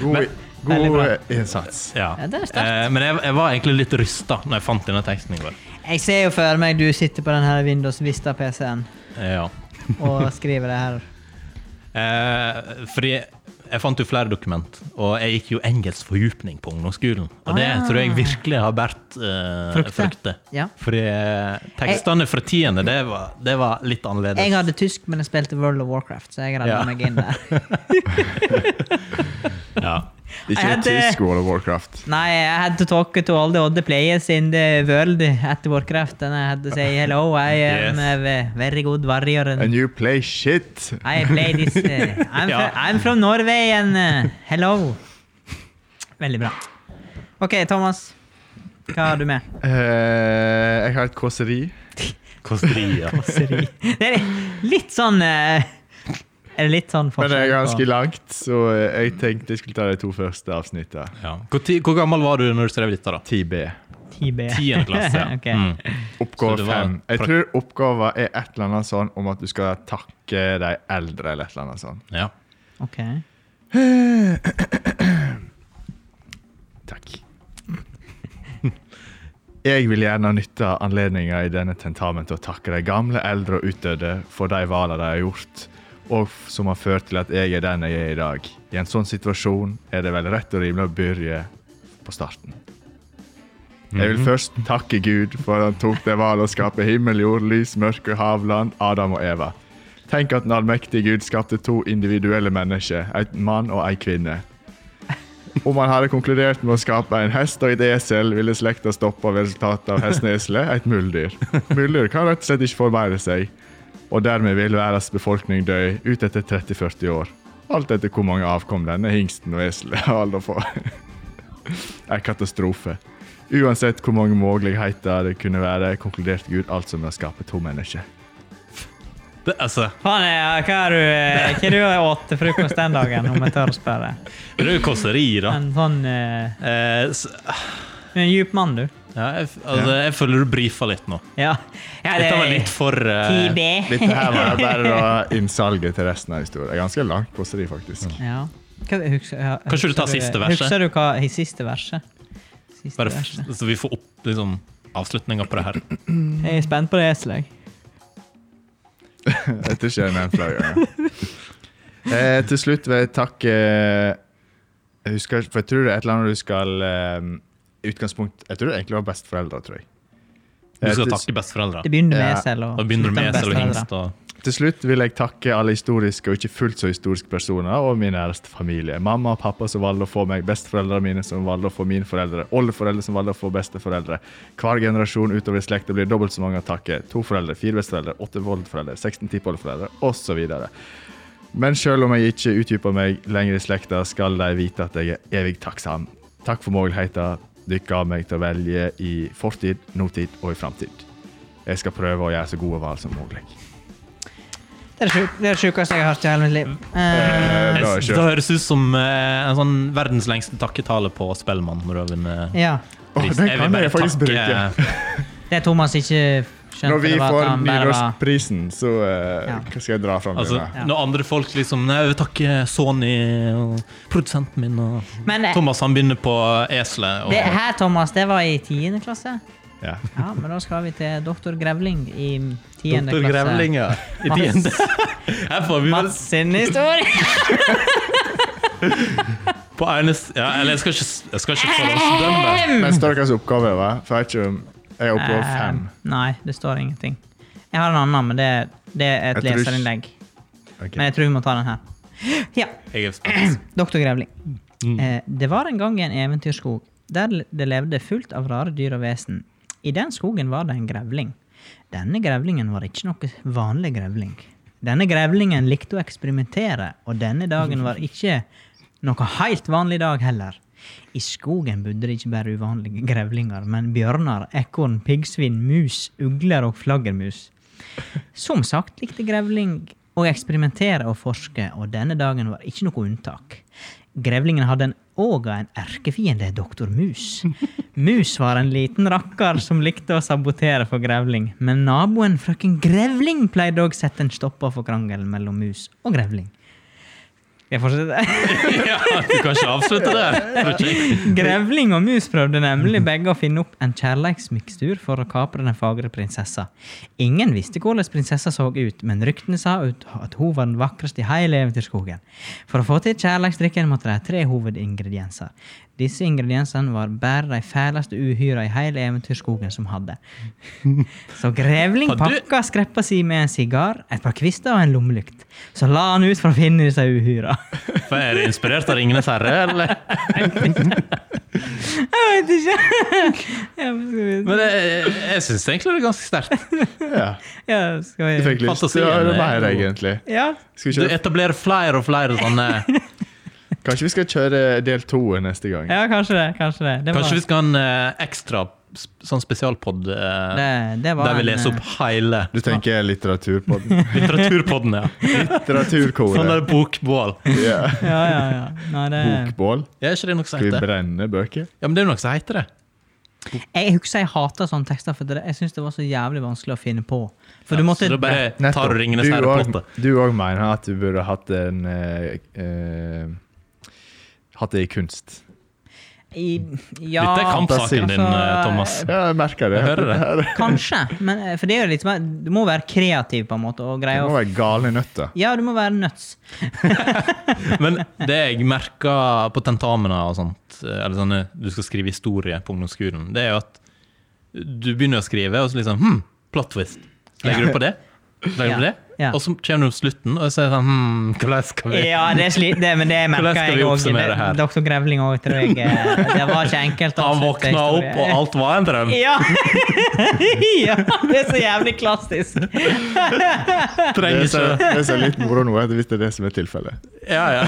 Speaker 3: God,
Speaker 2: Veldig
Speaker 3: god
Speaker 2: bra.
Speaker 3: eh, innsats.
Speaker 4: ja.
Speaker 2: Ja, det er sterkt.
Speaker 4: Eh, men jeg, jeg var egentlig litt rysta når jeg fant denne teksten i går.
Speaker 2: Jeg ser jo for meg du sitter på den her Windows Vista-PC-en
Speaker 4: Ja.
Speaker 2: og skriver det her.
Speaker 4: Eh, fordi jeg fant jo flere dokument, og jeg gikk jo engelsk fordypning på ungdomsskolen. Og det
Speaker 2: Ah.
Speaker 4: tror jeg virkelig har båret eh,
Speaker 2: Frukter.
Speaker 4: frukter.
Speaker 2: Ja.
Speaker 4: Fordi eh, tekstene fra tiende, det var, det var litt annerledes.
Speaker 2: Jeg hadde tysk, men jeg spilte World of Warcraft, så jeg redda
Speaker 4: Ja.
Speaker 2: meg inn
Speaker 4: (laughs)
Speaker 2: der.
Speaker 4: ja.
Speaker 3: Ikke
Speaker 2: Jeg
Speaker 3: en
Speaker 2: hadde-
Speaker 3: tysk World of Warcraft.
Speaker 2: Nei, I had to talk to all the other players in the world at Warcraft, and I had to say hello, I am
Speaker 4: Yes.
Speaker 2: a ve- very good warrior. And
Speaker 3: And you play shit! Eh,
Speaker 2: I play this.
Speaker 4: (laughs)
Speaker 2: Uh, I'm,
Speaker 4: Ja.
Speaker 2: fr I'm from Norway and uh, hello. Veldig bra. OK, Thomas. Hva har du med?
Speaker 3: Eh, jeg har et kåseri.
Speaker 4: Kåserier.
Speaker 2: (laughs) Kåseri. Det er litt sånn eh, Er det litt sånn
Speaker 3: Men det er ganske
Speaker 2: på-
Speaker 3: langt, så eh, jeg tenkte jeg skulle ta de to første avsnittene.
Speaker 4: Ja. Hvor, ti- hvor gammel var du når du skrev dette, da?
Speaker 3: 10B.
Speaker 2: 10B. (laughs)
Speaker 4: Tiende klasse. ja.
Speaker 2: Ok.
Speaker 4: Mm. Så
Speaker 3: Oppgave
Speaker 4: det var
Speaker 3: fem. Jeg
Speaker 4: prak-
Speaker 3: tror oppgava er et eller annet sånn om at du skal takke de eldre, eller et eller annet sånn.
Speaker 4: Ja.
Speaker 2: Ok.
Speaker 3: Takk. (laughs) Jeg vil gjerne nytte anledninga i denne tentamen til å takke de gamle, eldre og utdøde for de valene de har gjort, og f- som har ført til at jeg er den jeg er i dag. I en sånn situasjon er det vel rett og rimelig å begynne på starten. Jeg vil først takke Gud for at han tok det valget å skape himmel, jord, lys, mørke, havland, Adam og Eva. Tenk at den allmektige Gud skapte to individuelle mennesker, en mann og en kvinne. Om han hadde konkludert med å skape en hest og et esel, ville slekta stoppa ved resultatet av hesten og eselet, et muldyr. Muldyr kan rett og slett ikke formeire seg, og dermed vil verdens befolkning dø ut etter 30-40 år. Alt etter hvor mange avkom denne hingsten og eselet har aldri fått. En katastrofe. Uansett hvor mange muligheter det kunne være, konkluderte Gud altså med å skape to mennesker.
Speaker 4: Det, altså,
Speaker 2: Faen, ja, hva har du eh, Hva du har åt til frokost den dagen, om jeg tør å spørre?
Speaker 4: det er jo kåseri, da.
Speaker 2: En sånn eh,
Speaker 4: Eh, s-
Speaker 2: Du er en djup mann, du.
Speaker 4: ja, jeg, f- altså, jeg føler du brifa litt nå.
Speaker 2: Ja. ja
Speaker 4: Dette var litt for eh,
Speaker 2: 10B.
Speaker 3: Dette her var bare da innsalget til resten av historien. Ganske langt kåseri, faktisk.
Speaker 2: Ja. Hva, husker, ja,
Speaker 4: Kanskje du tar
Speaker 2: husker
Speaker 4: siste verset?
Speaker 2: Husker du hva i siste verset? Siste
Speaker 4: Bare f
Speaker 2: verset.
Speaker 4: så vi får opp liksom, avslutninga på det her.
Speaker 2: Jeg er spent på det eselet. jeg.
Speaker 3: (laughs) Dette skjer med en flere ganger. Eh, til slutt vil jeg takke eh, Jeg husker ikke, for jeg tror det er et eller annet du skal eh, Utgangspunkt Jeg tror det egentlig var besteforeldre, tror jeg.
Speaker 4: Du
Speaker 3: Eh,
Speaker 4: skal
Speaker 3: til,
Speaker 4: takke besteforeldre.
Speaker 2: Det begynner med
Speaker 3: Ja.
Speaker 2: esel og
Speaker 4: Da begynner du med
Speaker 2: slutter
Speaker 4: esel og
Speaker 2: besteforeldre.
Speaker 4: hingst. Og...
Speaker 3: til slutt vil jeg takke alle historiske og ikke fullt så historiske personer og min næreste familie. Mamma og pappa som valgte å få meg, besteforeldrene mine som valgte å få mine foreldre, oldeforeldre som valgte å få besteforeldre. Hver generasjon utover i slekta blir dobbelt så mange å takke. To foreldre, fire besteforeldre, åtte voldeforeldre, 16 tippoldeforeldre osv. Men selv om jeg ikke utdyper meg lenger i slekta, skal de vite at jeg er evig takksam. Takk for muligheten dere ga meg til å velge i fortid, nåtid og i framtid. Jeg skal prøve å gjøre så gode valg som mulig.
Speaker 2: Det er det sjuk- det er det sjukeste jeg har hørt i hele mitt liv.
Speaker 3: Eh,
Speaker 2: Eh,
Speaker 3: da er
Speaker 4: Det
Speaker 3: jeg kjørt.
Speaker 4: høres ut som eh, en sånn verdens lengste takketale på Spellemann. Når du har vunnet
Speaker 2: ja.
Speaker 3: Åh,
Speaker 4: pris.
Speaker 3: den
Speaker 4: Jeg vil
Speaker 3: kan
Speaker 4: bare
Speaker 3: jeg faktisk
Speaker 4: takke- eh,
Speaker 2: Det Thomas ikke skjønte,
Speaker 3: Når vi
Speaker 2: det var
Speaker 3: får
Speaker 2: at han bare var
Speaker 3: Nynorskprisen, så eh,
Speaker 2: Ja.
Speaker 3: hva skal jeg dra fram
Speaker 4: Altså,
Speaker 3: denne?
Speaker 2: Ja.
Speaker 4: Når andre folk liksom Nei, jeg vil takke Sony og produsenten min og
Speaker 2: Men eh,
Speaker 4: Thomas han begynner på eh, eselet.
Speaker 2: det
Speaker 4: Og...
Speaker 2: her, Thomas, det var i tiende klasse.
Speaker 3: Ja.
Speaker 2: Ja, men da skal vi til doktor Grevling i tiende
Speaker 4: Dr.
Speaker 2: klasse.
Speaker 4: Grevling, ja. I tiende. Her får vi vel
Speaker 2: Mats sin historie!
Speaker 4: på ene s- ja, Eller jeg skal ikke, jeg skal ikke forhåndsdømme.
Speaker 3: Men står deres oppgave, hva? For jeg er ikke Jeg er oppe på
Speaker 2: Eh,
Speaker 3: fem.
Speaker 2: Nei, det står ingenting. Jeg har en annen, men det, det er
Speaker 3: Jeg tror
Speaker 2: et
Speaker 3: ikke-
Speaker 2: leserinnlegg.
Speaker 3: Ok.
Speaker 2: Men jeg tror vi må ta den her. Ja,
Speaker 4: Jeg er spent.
Speaker 2: Doktor Grevling. Eh, det var en gang en eventyrskog der le- det levde fullt av rare dyr og vesen. I den skogen var det en grevling. Denne grevlingen var ikke noe vanlig grevling. Denne grevlingen likte å eksperimentere, og denne dagen var ikke noe helt vanlig dag heller. I skogen bodde det ikke bare uvanlige grevlinger, men bjørner, ekorn, piggsvin, mus, ugler og flaggermus. Som sagt likte grevling å eksperimentere og forske, og denne dagen var ikke noe unntak. Grevlingen hadde en òg en erkefiende, doktor Mus. Mus var en liten rakkar som likte å sabotere for grevling, men naboen frøken Grevling pleide òg sette en stopper for krangelen mellom mus og grevling. Jeg fortsetter.
Speaker 4: (laughs) ja, du kan ikke avslutte der.
Speaker 2: (laughs) Grevling og mus prøvde nemlig begge å finne opp en kjærleiksmikstur for å kapre den fagre prinsessa. Ingen visste hvordan prinsessa så ut, men ryktene sa ut at hun var den vakreste i hele eventyrskogen. For å få til kjærleiksdrikken måtte de ha tre hovedingredienser. Disse ingrediensene var bare de fæleste uhyra i hele eventyrskogen som hadde. Så Grevling
Speaker 4: Hadde du-
Speaker 2: pakka skreppa si med en sigar, et par kvister og en lommelykt. Så la han ut for å finne disse uhyra. (laughs)
Speaker 4: For er det inspirert av Ringenes herre, eller?
Speaker 2: Jeg vet ikke. (laughs) Ja, men skal vi-
Speaker 4: Men jeg, jeg syns egentlig det er ganske sterkt.
Speaker 3: Ja.
Speaker 2: Ja, skal
Speaker 3: Jeg
Speaker 2: vi
Speaker 3: fikk lyst til å
Speaker 4: Fantasien
Speaker 3: gjøre
Speaker 4: er
Speaker 3: mer,
Speaker 4: god.
Speaker 3: egentlig.
Speaker 2: Ja.
Speaker 3: Skal vi
Speaker 4: Du
Speaker 3: kjøre,
Speaker 4: etablerer flere og flere sånne
Speaker 2: (laughs)
Speaker 3: kanskje vi skal kjøre del to neste gang?
Speaker 2: ja, kanskje det. Kanskje det. Det var,
Speaker 4: Kanskje vi skal ha en eh, ekstra sp- sånn spesialpod eh,
Speaker 2: det, det var
Speaker 4: der vi
Speaker 2: en,
Speaker 4: leser
Speaker 2: eh,
Speaker 4: opp hele
Speaker 3: Du
Speaker 4: (laughs)
Speaker 3: tenker litteraturpodden?
Speaker 4: litteraturpodden, ja. Sånn
Speaker 3: Litteraturkode.
Speaker 4: der bokbål.
Speaker 3: (laughs)
Speaker 4: (laughs)
Speaker 3: Ja.
Speaker 2: Ja, ja, ja. Nei, det,
Speaker 3: Bokbål?
Speaker 4: Ja, er ikke det noe som
Speaker 3: Skal vi
Speaker 4: heter det?
Speaker 3: brenne bøker?
Speaker 4: Ja, men det er jo noe som heter det.
Speaker 2: jeg husker jeg hata sånne tekster, for det, jeg syns det var så jævlig vanskelig å finne på. For du måtte
Speaker 4: Så da bare tar du Ringenes
Speaker 3: Du og-
Speaker 4: herre-plottet.
Speaker 3: Du òg mener at du burde hatt en eh, eh, Hatt det i kunst.
Speaker 2: i, Ja,
Speaker 4: Dette er kampsaken din,
Speaker 2: altså,
Speaker 4: eh, Thomas.
Speaker 3: Ja, jeg merker det.
Speaker 4: Jeg
Speaker 3: (laughs)
Speaker 4: hører
Speaker 3: det.
Speaker 2: (laughs) Kanskje. Men, eh, for det er jo litt, mer- du må være kreativ på en måte og greie
Speaker 3: må
Speaker 2: å
Speaker 3: være gale nøtter.
Speaker 2: Ja, du må være nuts.
Speaker 4: Men det jeg merker på tentamener og sånt, eller sånne du skal skrive historie på ungdomsskolen, det er jo at du begynner å skrive, og så liksom Hm, plot twist. Så Legger du på det? Legger du på det?
Speaker 2: Ja.
Speaker 4: Og så kommer du på slutten, og så er det sånn Hm, hvordan skal vi
Speaker 2: Ja, det er sli, det, men
Speaker 4: (laughs)
Speaker 2: det
Speaker 4: Hvordan
Speaker 2: merka
Speaker 4: skal
Speaker 2: jeg
Speaker 4: vi oppsummere her?
Speaker 2: òg. Doktor Grevling òg, tror jeg. eh, Det var ikke enkelt. å
Speaker 4: Han
Speaker 2: avslutte
Speaker 4: våkna opp,
Speaker 2: historien.
Speaker 4: og alt var en drøm.
Speaker 2: (laughs) Ja. ja! Det er så jævlig klassisk.
Speaker 3: Det
Speaker 4: Trenger
Speaker 3: er så-
Speaker 4: ikke
Speaker 3: det er så litt moro nå, at hvis det er det som er tilfellet.
Speaker 4: Ja, ja.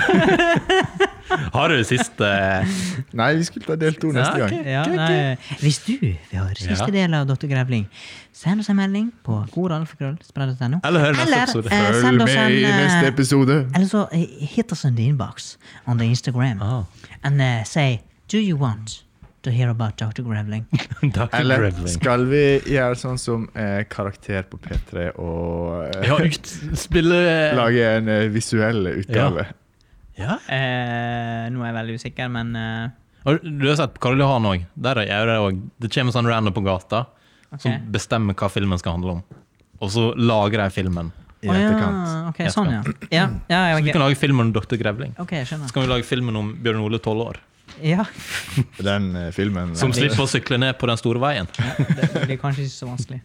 Speaker 2: (laughs)
Speaker 4: Har du siste
Speaker 3: Nei, vi skulle ta del to
Speaker 4: Ja,
Speaker 3: neste
Speaker 4: ok.
Speaker 3: gang.
Speaker 2: Ja, nei. Hvis du vil høre siste
Speaker 4: Ja.
Speaker 2: del av Dr. Grevling, send oss en melding på godalfakrøll.no.
Speaker 4: Eller hør neste episode.
Speaker 2: eh,
Speaker 3: Følg med i neste episode.
Speaker 2: Eller så eh, hit oss in the inbox on the Instagram
Speaker 4: Ah. (laughs)
Speaker 2: and eh, say Do you want to hear about Dr. Grevling?
Speaker 4: Dr.
Speaker 3: Eller
Speaker 4: Grevling?
Speaker 3: skal vi gjøre sånn som eh, karakter på P3 og eh,
Speaker 4: Ja, utspille
Speaker 3: lage en eh, visuell utgave?
Speaker 4: Ja.
Speaker 2: (laughs) Eh, nå er jeg veldig usikker, men eh,
Speaker 4: Har Du du har sett på Karl Johan òg. Der er jeg det òg. Det kommer sånn random på gata
Speaker 2: Ok.
Speaker 4: som bestemmer hva filmen skal handle om. Og så lager de filmen.
Speaker 3: I
Speaker 2: Å ja,
Speaker 3: etterkant.
Speaker 2: ok, sånn, ja. Ja, ja, ja
Speaker 4: Så vi
Speaker 2: ok.
Speaker 4: kan lage filmen om Dr. Grevling.
Speaker 2: ok, jeg skjønner.
Speaker 4: Så kan vi lage filmen om Bjørn Ole 12 år.
Speaker 2: Ja,
Speaker 3: Den eh, filmen
Speaker 4: Som
Speaker 3: eh,
Speaker 4: slipper å sykle ned på den store veien.
Speaker 2: det det blir kanskje ikke så vanskelig.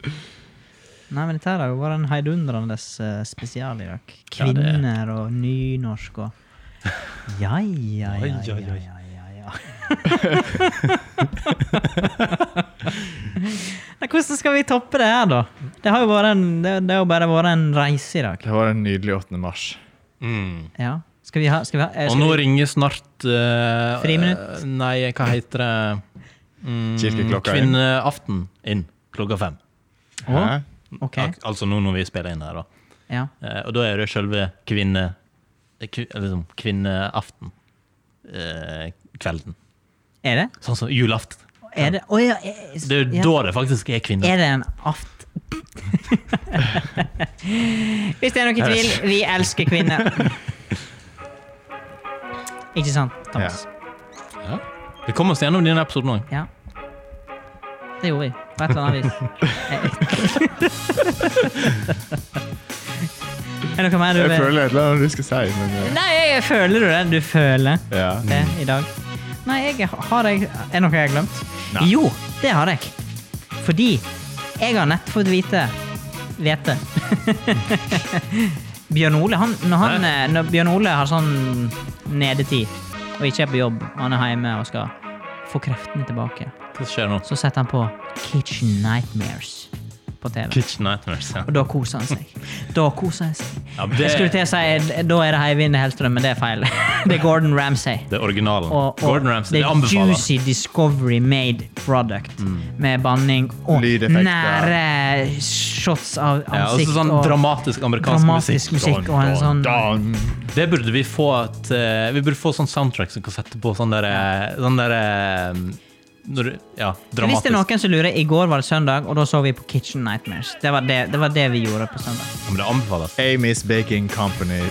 Speaker 2: Nei, men dette her har jo vært en heidundrende eh, spesial i dag.
Speaker 4: Ja, det-
Speaker 2: Kvinner og nynorsk og Ja, ja, ja, ja, ja, ja,
Speaker 4: (laughs)
Speaker 2: ja. Nei, Hvordan skal vi toppe det her, da? Det har jo vært en, det, det har jo bare vært en reise i dag.
Speaker 3: Det var en nydelig 8. mars.
Speaker 4: Mm.
Speaker 2: Ja. Skal vi ha, skal vi ha eh,
Speaker 4: Og
Speaker 2: skal
Speaker 4: nå
Speaker 2: vi,
Speaker 4: ringer snart eh,
Speaker 2: Friminutt.
Speaker 4: eh, Nei, hva heter det? Mm,
Speaker 3: Kirkeklokka inn.
Speaker 4: Kvinneaften inn klokka fem.
Speaker 2: Å,
Speaker 3: Hæ?
Speaker 2: OK.
Speaker 4: Ak altså nå når vi spiller inn her, da.
Speaker 2: Ja.
Speaker 4: Eh, og da er det selve kvinne... eh, kvi- eh, liksom, kvinneaften. Eh, kvelden.
Speaker 2: Er det?
Speaker 4: Sånn som julaften.
Speaker 2: Er det Å ja. er-
Speaker 4: Det er jo
Speaker 2: ja.
Speaker 4: da det faktisk er kvinner.
Speaker 2: Er det en aft... (laughs) Hvis det er noe tvil, vi elsker kvinner. Ikke sant, Thomas?
Speaker 4: Ja. Vi kom oss gjennom denne episoden òg.
Speaker 2: Ja. Det gjorde vi. På et eller annet vis. (laughs) er det noe mer du
Speaker 3: Jeg
Speaker 2: vil
Speaker 3: føler et eller annet du skal si, men eh,
Speaker 2: Nei, jeg føler du det? Du føler
Speaker 3: ja.
Speaker 4: Mm.
Speaker 2: det eh, i dag? Nei, jeg har jeg Er det noe jeg har glemt?
Speaker 3: Nei.
Speaker 2: Jo, det har jeg. Fordi jeg har nett fått vite Vete. (laughs) Bjørn Ole, han, når, han, eh, når Bjørn Ole har sånn nedetid og ikke er på jobb, og han er hjemme og skal få kreftene tilbake,
Speaker 4: Hva skjer nå?
Speaker 2: så setter han på Kitchen Nightmares. på TV.
Speaker 4: Kitchen Nightmares. Ja.
Speaker 2: Og da koser han seg. Da koser han seg.
Speaker 4: Ja,
Speaker 2: Jeg skulle
Speaker 4: det,
Speaker 2: til å si da er det Heivind Hellstrøm, men det er feil. (laughs) Det er Gordon Ramsay.
Speaker 4: det er originalen.
Speaker 2: Og, og
Speaker 4: Gordon Ramsay.
Speaker 2: det
Speaker 4: Det
Speaker 2: er
Speaker 4: anbefaler Mm.
Speaker 2: juicy Discovery made product med banning og
Speaker 3: Lydeffekter.
Speaker 2: nære shots av
Speaker 4: Ja, og
Speaker 2: ansikt.
Speaker 4: sånn
Speaker 2: og
Speaker 4: dramatisk amerikansk
Speaker 2: dramatisk musikk. Og en sånn
Speaker 3: Dan.
Speaker 4: Det burde vi få at eh, Vi burde få sånn soundtrack som kan sette på sånn der, eh, sånn der eh, når, du- Ja,
Speaker 2: Hvis
Speaker 4: dramatisk.
Speaker 2: det er noen som lurer, i går var det søndag, og da så vi på Kitchen Nightmares. Det var det, det, var det vi gjorde på søndag.
Speaker 4: Ja, men det anbefales.
Speaker 3: Amy's Baking Company.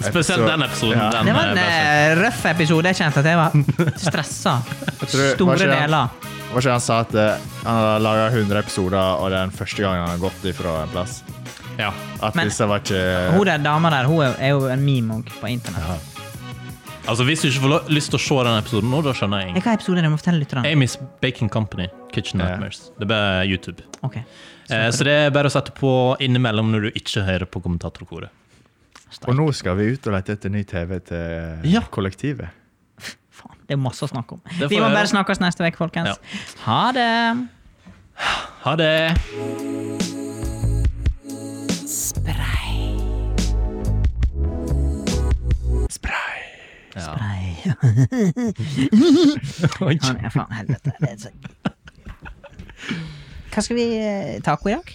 Speaker 4: Spesielt den episoden.
Speaker 3: Ja.
Speaker 4: Den,
Speaker 2: Det var
Speaker 4: eh,
Speaker 2: en
Speaker 4: beste.
Speaker 2: eh, røff episode. Jeg kjente at
Speaker 3: (laughs)
Speaker 2: jeg var stressa.
Speaker 3: tror- var
Speaker 2: Store
Speaker 3: ikke det-
Speaker 2: deler.
Speaker 3: Var ikke han sa at eh, han har laga 100 episoder, og det er den første gangen han har gått ifra en plass?
Speaker 4: ja.
Speaker 3: At
Speaker 2: Men-
Speaker 3: disse var
Speaker 2: Hun
Speaker 3: ikke
Speaker 2: der dama der hun er- er jo en meme også på internett.
Speaker 4: Altså, Hvis du ikke får lo- lyst til å se den episoden nå, da skjønner jeg.
Speaker 2: Hvilken episode Eh, er det? Jeg må fortelle lytterne.
Speaker 4: Amy's Baking Company, Kitchen
Speaker 3: Ja.
Speaker 4: Nightmares. Det er YouTube.
Speaker 2: Ok.
Speaker 4: Eh, så det er bare å sette på innimellom når du ikke hører på kommentatorkoret.
Speaker 3: Og nå skal vi ut og lete etter ny TV til eh,
Speaker 4: Ja.
Speaker 3: kollektivet.
Speaker 2: Faen, det er masse å snakke om.
Speaker 4: får
Speaker 2: Vi må
Speaker 4: jeg
Speaker 2: bare
Speaker 4: gjøre.
Speaker 2: snakkes neste uke, folkens. Ha det!
Speaker 4: Ha det!
Speaker 3: Spray.
Speaker 4: Ja.
Speaker 2: Nei,
Speaker 4: (laughs) Oi.
Speaker 2: han er faen helvete. Det er så- Hva skal vi eh, taco i dag?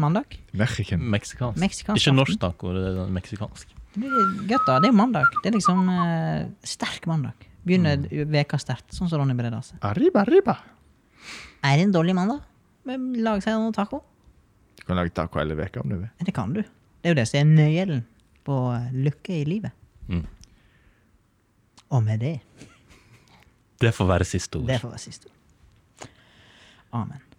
Speaker 2: Mandag?
Speaker 3: Mexican.
Speaker 4: Meksikansk.
Speaker 2: Meksikansk
Speaker 4: Ikke
Speaker 2: aften.
Speaker 4: norsk taco, det er meksikansk.
Speaker 2: Det blir gøtt, da. Det er jo mandag. Det er liksom eh, sterk mandag. Begynner
Speaker 4: Mm.
Speaker 2: veka sterkt, sånn som Ronny Brede sa.
Speaker 3: Arriba, arriba.
Speaker 2: Er det en dårlig mandag? Men Lag seg noe taco.
Speaker 3: Du kan lage taco hele veka om du vil.
Speaker 2: Ja, Det kan du. Det er jo det som er nøkkelen på eh, lykke i livet.
Speaker 4: Mm.
Speaker 2: Og med det
Speaker 4: Det får være siste ord.
Speaker 2: Det får være siste ord. Amen.